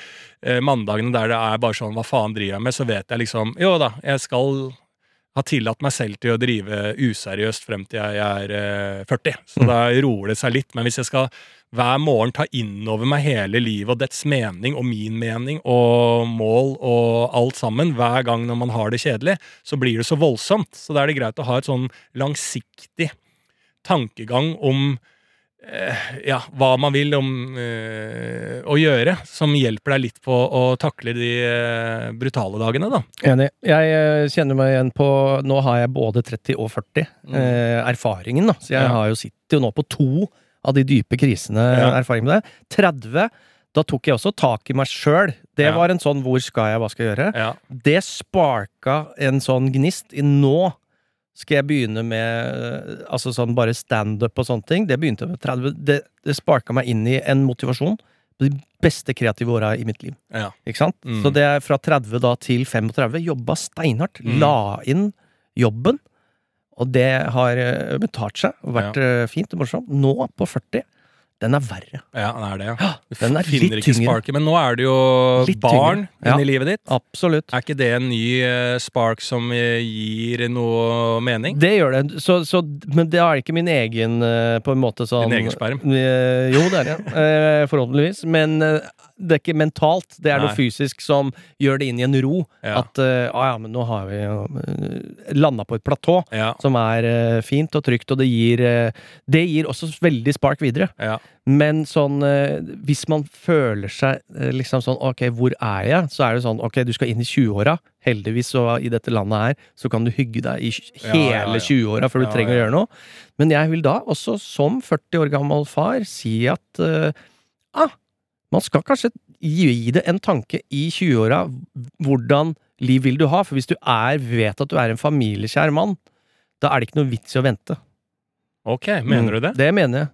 [SPEAKER 2] eh, mandagene der det er bare sånn, hva faen driver jeg med, så vet jeg liksom, jo da, jeg skal ha tillatt meg selv til å drive useriøst frem til jeg er eh, 40. Så da roer det seg litt. Men hvis jeg skal hver morgen ta innover meg hele livet og dets mening og min mening og mål og alt sammen hver gang når man har det kjedelig, så blir det så voldsomt. Så da er det greit å ha et sånn langsiktig tankegang om eh, ja, hva man vil om eh, å gjøre, som hjelper deg litt på å takle de eh, brutale dagene, da.
[SPEAKER 3] Enig. Jeg eh, kjenner meg igjen på Nå har jeg både 30 og 40. Eh, erfaringen, da. Så jeg
[SPEAKER 2] Mm. Ja.
[SPEAKER 3] har jo sitter jo nå på to av de dype krisene.
[SPEAKER 2] Ja.
[SPEAKER 3] eh, Erfaring med det. 30. Da tok jeg også tak i meg sjøl. Det
[SPEAKER 2] Ja.
[SPEAKER 3] var en sånn 'hvor skal jeg, hva skal jeg gjøre'?
[SPEAKER 2] Ja.
[SPEAKER 3] Det sparka en sånn gnist i nå. Skal jeg begynne med eh, altså sånn bare standup og sånne ting? Det begynte jeg med 30. Det, det sparka meg inn i en motivasjon på de beste kreative åra i mitt liv.
[SPEAKER 2] Ja.
[SPEAKER 3] Ikke sant?
[SPEAKER 2] Mm.
[SPEAKER 3] Så det er fra 30 da til 35. Jobba steinhardt.
[SPEAKER 2] Mm.
[SPEAKER 3] La inn jobben. Og det har eh, betalt seg. og Vært eh, fint og morsomt. Nå, på 40, den er verre.
[SPEAKER 2] Ja, det er det. ja. Du
[SPEAKER 3] den er
[SPEAKER 2] finner
[SPEAKER 3] litt
[SPEAKER 2] ikke
[SPEAKER 3] tyngre.
[SPEAKER 2] sparket, men nå er det jo
[SPEAKER 3] Litt
[SPEAKER 2] barn
[SPEAKER 3] tyngre, ja.
[SPEAKER 2] inni livet ditt.
[SPEAKER 3] Absolutt.
[SPEAKER 2] Er ikke det en ny eh, spark som eh, gir noe mening?
[SPEAKER 3] Det gjør det. Så, så, men det er ikke min egen eh, på en måte sånn
[SPEAKER 2] Din egen sperm?
[SPEAKER 3] Eh, jo, det er det. eh, forhåpentligvis. Men eh, det er ikke mentalt. Det er
[SPEAKER 2] Nei.
[SPEAKER 3] noe fysisk som gjør det inn i en ro.
[SPEAKER 2] Ja.
[SPEAKER 3] At eh, ah, ja, men nå har vi uh, landa på et platå
[SPEAKER 2] Ja.
[SPEAKER 3] som er eh, fint og trygt, og det gir, eh, det gir også veldig spark videre.
[SPEAKER 2] ja.
[SPEAKER 3] Men sånn eh, Hvis man føler seg eh, liksom sånn Ok, hvor er jeg? Så er det sånn Ok, du skal inn i 20-åra. Heldigvis så i dette landet her så kan du hygge deg i tj-
[SPEAKER 2] Ja,
[SPEAKER 3] hele
[SPEAKER 2] ja, ja.
[SPEAKER 3] 20-åra før du
[SPEAKER 2] Ja,
[SPEAKER 3] trenger å
[SPEAKER 2] ja.
[SPEAKER 3] gjøre noe. Men jeg vil da, også som 40 år gammel far, si at eh, ah, man skal kanskje gi det en tanke i 20-åra. Hvordan liv vil du ha? For hvis du er, vet at du er en familiekjær mann, da er det ikke noe vits i å vente. Mm.
[SPEAKER 2] Ok, mener du det?
[SPEAKER 3] Det mener jeg.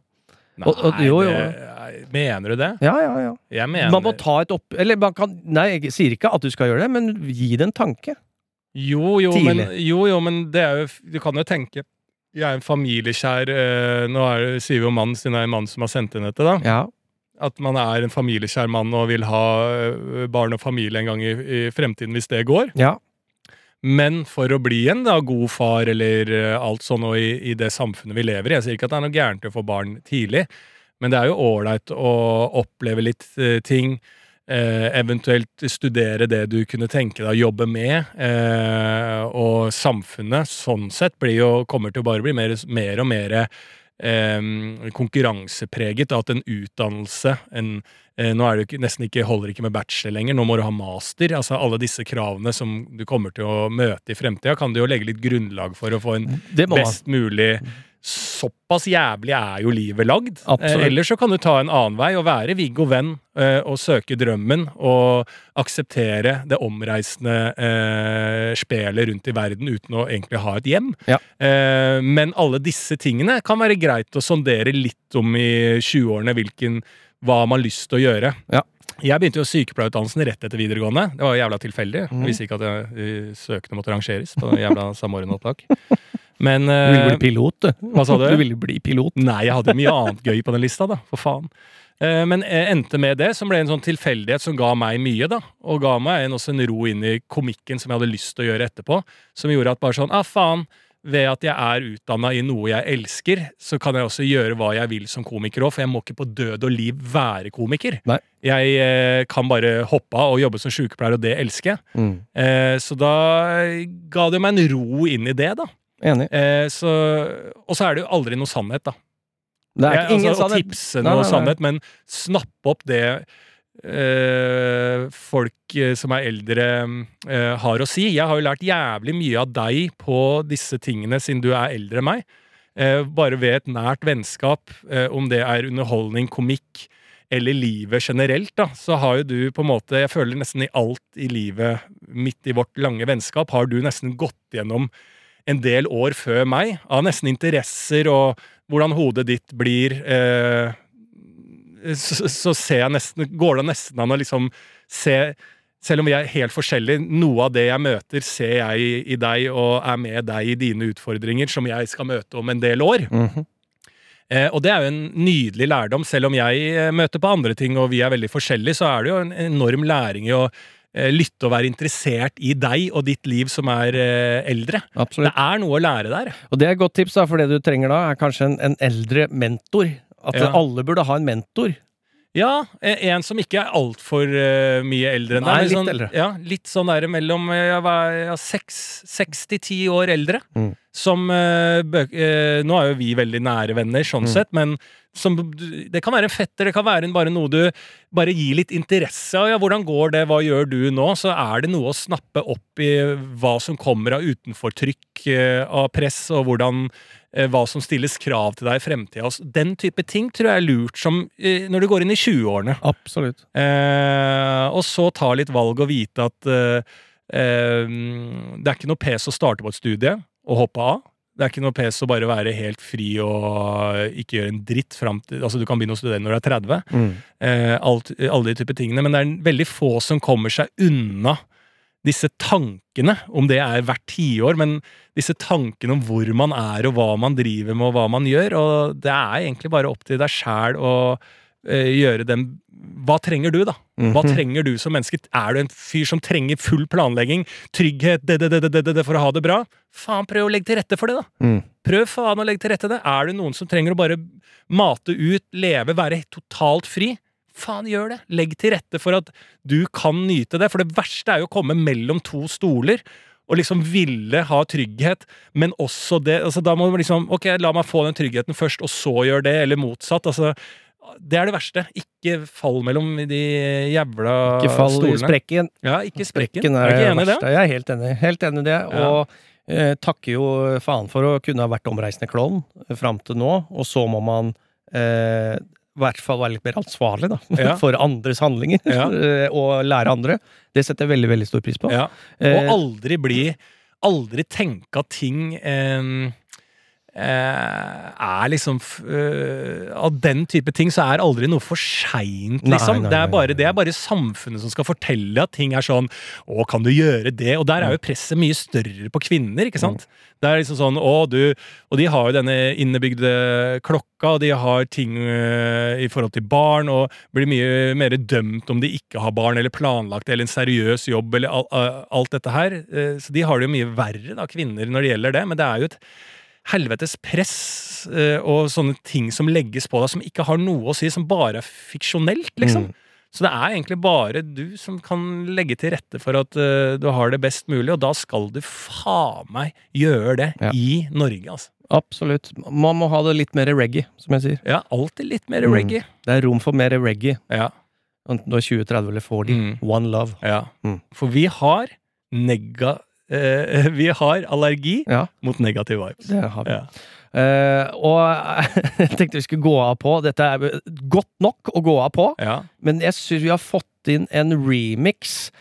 [SPEAKER 3] og- og-
[SPEAKER 2] Nei,
[SPEAKER 3] jo, jo.
[SPEAKER 2] det- mener du det?
[SPEAKER 3] Ja, ja, ja.
[SPEAKER 2] Jeg mener
[SPEAKER 3] Man må ta et opp... Eller man kan Nei, jeg sier ikke at du skal gjøre det, men gi det en tanke.
[SPEAKER 2] jo jo, men,
[SPEAKER 3] tidlig.
[SPEAKER 2] jo, jo, men det er jo Du kan jo tenke Jeg er en familiekjær eh, Nå er, det- sier vi jo mann, siden det er en mann som har sendt inn dette, da.
[SPEAKER 3] Ja.
[SPEAKER 2] At man er en familiekjær mann og vil ha eh, barn og familie en gang i, i fremtiden, hvis det går.
[SPEAKER 3] Ja.
[SPEAKER 2] Men for å bli en da, god far eller eh, alt sånn og i, i det samfunnet vi lever i Jeg sier ikke at det er noe gærent å få barn tidlig, men det er jo ålreit å oppleve litt eh, ting. Eh, eventuelt studere det du kunne tenke deg å jobbe med. Eh, og samfunnet sånn sett blir jo, kommer til å bare bli mer, mer og mer eh, konkurransepreget. og At en utdannelse en, eh, Nå er det jo ikke, nesten ikke, holder ikke med bachelor lenger, nå må du ha master. altså Alle disse kravene som du kommer til å møte i fremtida, kan du jo legge litt grunnlag for å få en
[SPEAKER 3] Det Mm. må man. Mm.
[SPEAKER 2] best mulig Såpass jævlig er jo livet lagd.
[SPEAKER 3] Absolutt.
[SPEAKER 2] Eh, Eller så kan du ta en annen vei og være Viggo Venn eh, og søke drømmen og akseptere det omreisende eh, spelet rundt i verden uten å egentlig ha et hjem.
[SPEAKER 3] Ja.
[SPEAKER 2] Eh, men alle disse tingene kan være greit å sondere litt om i 20-årene hvilken hva man har lyst til å gjøre.
[SPEAKER 3] Ja.
[SPEAKER 2] Jeg begynte jo sykepleierutdannelsen rett etter videregående. Det var jo jævla tilfeldig.
[SPEAKER 3] Mhm.
[SPEAKER 2] Jeg visste ikke at eh, søkene måtte rangeres på den jævla samordna opptak. Men
[SPEAKER 3] Du
[SPEAKER 2] eh,
[SPEAKER 3] ville bli pilot, du.
[SPEAKER 2] hva sa du?
[SPEAKER 3] Du ville bli pilot.
[SPEAKER 2] Nei, jeg hadde mye annet gøy på den lista, da. For faen. Eh, Men jeg endte med det, som ble en sånn tilfeldighet som ga meg mye. da, Og ga meg en, også en ro inn i komikken som jeg hadde lyst til å gjøre etterpå. Som gjorde at bare sånn ah, faen, ved at jeg er utdanna i noe jeg elsker, så kan jeg også gjøre hva jeg vil som komiker òg, for jeg må ikke på død og liv være komiker.
[SPEAKER 3] Nei.
[SPEAKER 2] Jeg eh, kan bare hoppe av og jobbe som sykepleier, og det elsker jeg.
[SPEAKER 3] Mm.
[SPEAKER 2] Eh, så da ga det meg en ro inn i det, da.
[SPEAKER 3] Enig.
[SPEAKER 2] Eh, så, og så er det jo aldri noe sannhet, da.
[SPEAKER 3] Det er
[SPEAKER 2] Jeg-
[SPEAKER 3] ikke ingen
[SPEAKER 2] altså, Å
[SPEAKER 3] sannhet.
[SPEAKER 2] tipse
[SPEAKER 3] Nei,
[SPEAKER 2] noe
[SPEAKER 3] nei, nei.
[SPEAKER 2] sannhet, men snappe opp det eh, folk eh, som er eldre, eh, har å si. Jeg har jo lært jævlig mye av deg på disse tingene, siden du er eldre enn meg. Eh, bare ved et nært vennskap, eh, om det er underholdning, komikk eller livet generelt, da, så har jo du på en måte Jeg føler nesten i alt i livet, midt i vårt lange vennskap, har du nesten gått gjennom en del år før meg, av nesten interesser og hvordan hodet ditt blir eh, så, så ser jeg nesten Går det nesten an å liksom se Selv om vi er helt forskjellige, noe av det jeg møter, ser jeg i, i deg og er med deg i dine utfordringer, som jeg skal møte om en del år.
[SPEAKER 3] Mhm.
[SPEAKER 2] Eh, og det er jo en nydelig lærdom, selv om jeg eh, møter på andre ting og vi er veldig forskjellige, så er det jo en enorm læring i å eh, lytte og være interessert i deg og ditt liv som er eh, eldre.
[SPEAKER 3] Absolutt.
[SPEAKER 2] Det er noe å lære der.
[SPEAKER 3] Og det er et godt tips, da, for det du trenger da, er kanskje en, en eldre mentor. At
[SPEAKER 2] Ja.
[SPEAKER 3] alle burde ha en mentor.
[SPEAKER 2] Ja, eh, en som ikke er altfor uh, mye eldre enn deg.
[SPEAKER 3] Nei,
[SPEAKER 2] men
[SPEAKER 3] litt
[SPEAKER 2] sånn,
[SPEAKER 3] eldre.
[SPEAKER 2] Ja, litt sånn der mellom eh, ja, hva er- ja, seks- seks til ti år eldre.
[SPEAKER 3] Mm.
[SPEAKER 2] Som eh, bø eh, Nå er jo vi veldig nære venner,
[SPEAKER 3] Mm.
[SPEAKER 2] sånn sett, men som, du- det kan være en fetter, det kan være en- bare noe du bare gir litt interesse av. Ja, hvordan går det, hva gjør du nå? Så er det noe å snappe opp i hva som kommer av utenfortrykk, eh, av press, og hvordan eh, hva som stilles krav til deg i fremtida. Altså, Den type ting tror jeg er lurt som, eh, når du går inn i 20-årene.
[SPEAKER 3] Absolutt.
[SPEAKER 2] Eh, og så ta litt valg og vite at eh, eh, det er ikke noe pes å starte på et studie og hoppe av. Det er ikke noe pes å bare være helt fri og ikke gjøre en dritt fram til Altså, du kan begynne å studere når du er 30.
[SPEAKER 3] Mm.
[SPEAKER 2] Eh, alt, alle de type tingene. Men det er veldig få som kommer seg unna disse tankene, om det er hvert tiår, men disse tankene om hvor man er, og hva man driver med, og hva man gjør. Og det er egentlig bare opp til deg sjæl å eh, gjøre den Hva trenger du, da? Hva trenger du som menneske? Er du en fyr som trenger full planlegging, trygghet, det, det, det, det, det, det for å ha det bra? Faen, prøv å legge til rette for det, da!
[SPEAKER 3] Mm.
[SPEAKER 2] Prøv faen å legge til rette det. Er det noen som trenger å bare mate ut, leve, være totalt fri? Faen, gjør det! Legg til rette for at du kan nyte det. For det verste er jo å komme mellom to stoler og liksom ville ha trygghet, men også det altså Da må du liksom Ok, la meg få den tryggheten først, og så gjør det, eller motsatt. altså det er det verste. Ikke fall mellom de jævla
[SPEAKER 3] Ikke fall i
[SPEAKER 2] stolene.
[SPEAKER 3] sprekken.
[SPEAKER 2] Ja, ikke sprekken.
[SPEAKER 3] Sprekken
[SPEAKER 2] er du
[SPEAKER 3] er,
[SPEAKER 2] ikke
[SPEAKER 3] det
[SPEAKER 2] enig i det?
[SPEAKER 3] verste. Jeg er helt enig. Helt enig i det.
[SPEAKER 2] Ja.
[SPEAKER 3] Og eh, takker jo faen for å kunne ha vært omreisende klovn eh, fram til nå, og så må man eh, i hvert fall være litt mer ansvarlig da,
[SPEAKER 2] Ja.
[SPEAKER 3] for andres handlinger,
[SPEAKER 2] Ja.
[SPEAKER 3] eh, og lære andre. Det setter jeg veldig veldig stor pris på.
[SPEAKER 2] Ja.
[SPEAKER 3] Eh,
[SPEAKER 2] Og aldri bli Aldri tenke at ting eh, eh, er liksom f- eh, Av den type ting så er aldri noe for seint,
[SPEAKER 3] Nei,
[SPEAKER 2] liksom.
[SPEAKER 3] nei,
[SPEAKER 2] det, er
[SPEAKER 3] nei,
[SPEAKER 2] bare,
[SPEAKER 3] nei,
[SPEAKER 2] det er bare samfunnet som skal fortelle at ting er sånn Å, kan du gjøre det? Og der er jo presset mye større på kvinner, ikke sant? Det er liksom sånn Å, du Og de har jo denne innebygde klokka, og de har ting eh, i forhold til barn, og blir mye mer dømt om de ikke har barn, eller planlagt, eller en seriøs jobb, eller al- eh, alt dette her. Eh, Så de har det jo mye verre, da, kvinner, når det gjelder det, men det er jo et helvetes press eh, og sånne ting som legges på deg som ikke har noe å si, som bare er fiksjonelt, liksom.
[SPEAKER 3] mm,
[SPEAKER 2] Så det er egentlig bare du som kan legge til rette for at eh, du har det best mulig, og da skal du faen meg gjøre det
[SPEAKER 3] Ja.
[SPEAKER 2] i Norge, altså.
[SPEAKER 3] Absolutt. Man må ha det litt mer reggae, som jeg sier.
[SPEAKER 2] Ja, alltid litt mer
[SPEAKER 3] Mm.
[SPEAKER 2] reggae.
[SPEAKER 3] Det er rom for mer reggae.
[SPEAKER 2] Ja,
[SPEAKER 3] Enten du er 20, 30 eller 40.
[SPEAKER 2] Mm.
[SPEAKER 3] One love.
[SPEAKER 2] ja.
[SPEAKER 3] Mm.
[SPEAKER 2] For vi har nega... eh, vi har allergi
[SPEAKER 3] Ja,
[SPEAKER 2] mot negative vibes.
[SPEAKER 3] det har vi.
[SPEAKER 2] Ja.
[SPEAKER 3] Eh, og jeg tenkte vi skulle gå av på Dette er godt nok å gå av på,
[SPEAKER 2] Ja.
[SPEAKER 3] men jeg syns vi har fått inn en remix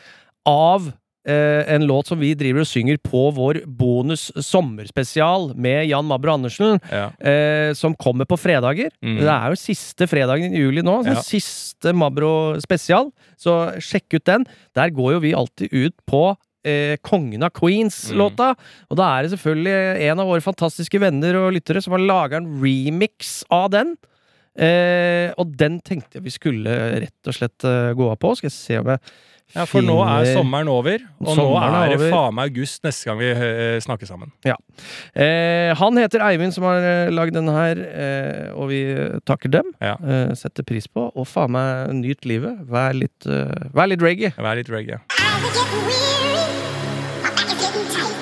[SPEAKER 3] av eh, en låt som vi driver og synger på vår bonus sommerspesial med Jan Mabro Andersen,
[SPEAKER 2] Ja.
[SPEAKER 3] eh, som kommer på fredager.
[SPEAKER 2] Mm.
[SPEAKER 3] Det er jo siste fredagen i juli nå. så
[SPEAKER 2] Ja.
[SPEAKER 3] Siste Mabro spesial. Så sjekk ut den. Der går jo vi alltid ut på eh, Kongen av Queens-låta.
[SPEAKER 2] Mm.
[SPEAKER 3] Og da er det selvfølgelig en av våre fantastiske venner og lyttere som har laga en remix av den. Eh, og den tenkte jeg vi skulle rett og slett eh, gå av på. Skal jeg se om jeg
[SPEAKER 2] Ja, For nå er sommeren over, og nå
[SPEAKER 3] Sommeren
[SPEAKER 2] er
[SPEAKER 3] er
[SPEAKER 2] det
[SPEAKER 3] over.
[SPEAKER 2] faen meg august neste gang vi eh, snakker sammen.
[SPEAKER 3] Eh, han heter Eivind, som har eh, lagd denne her, eh, og vi eh, takker dem.
[SPEAKER 2] Ja.
[SPEAKER 3] Eh, setter pris på. Og faen meg, nyt livet. Vær litt, eh, vær litt reggae.
[SPEAKER 2] Vær litt reggae.
[SPEAKER 6] I was getting weary. My back is getting tight.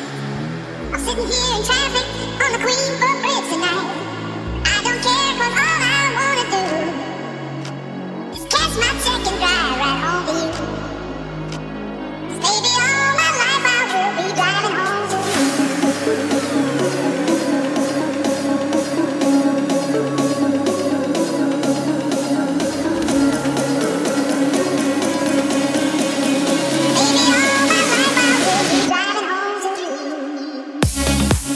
[SPEAKER 6] I'm sitting here in traffic on the Queenborough Bridge tonight. I don't care 'cause all I wanna do is cash my check and drive right home to you. 'Cause baby, all my life I will be driving home to you. Baby, all my life I will be driving home to you.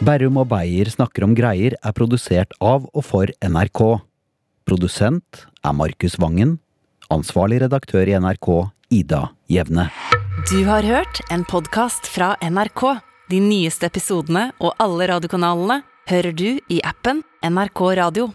[SPEAKER 7] Berrum og Beyer snakker om greier er produsert av og for NRK. Produsent er Markus Vangen. Ansvarlig redaktør i NRK, Ida Jevne.
[SPEAKER 1] Du har hørt en podkast fra NRK. De nyeste episodene og alle radiokanalene hører du i appen NRK Radio.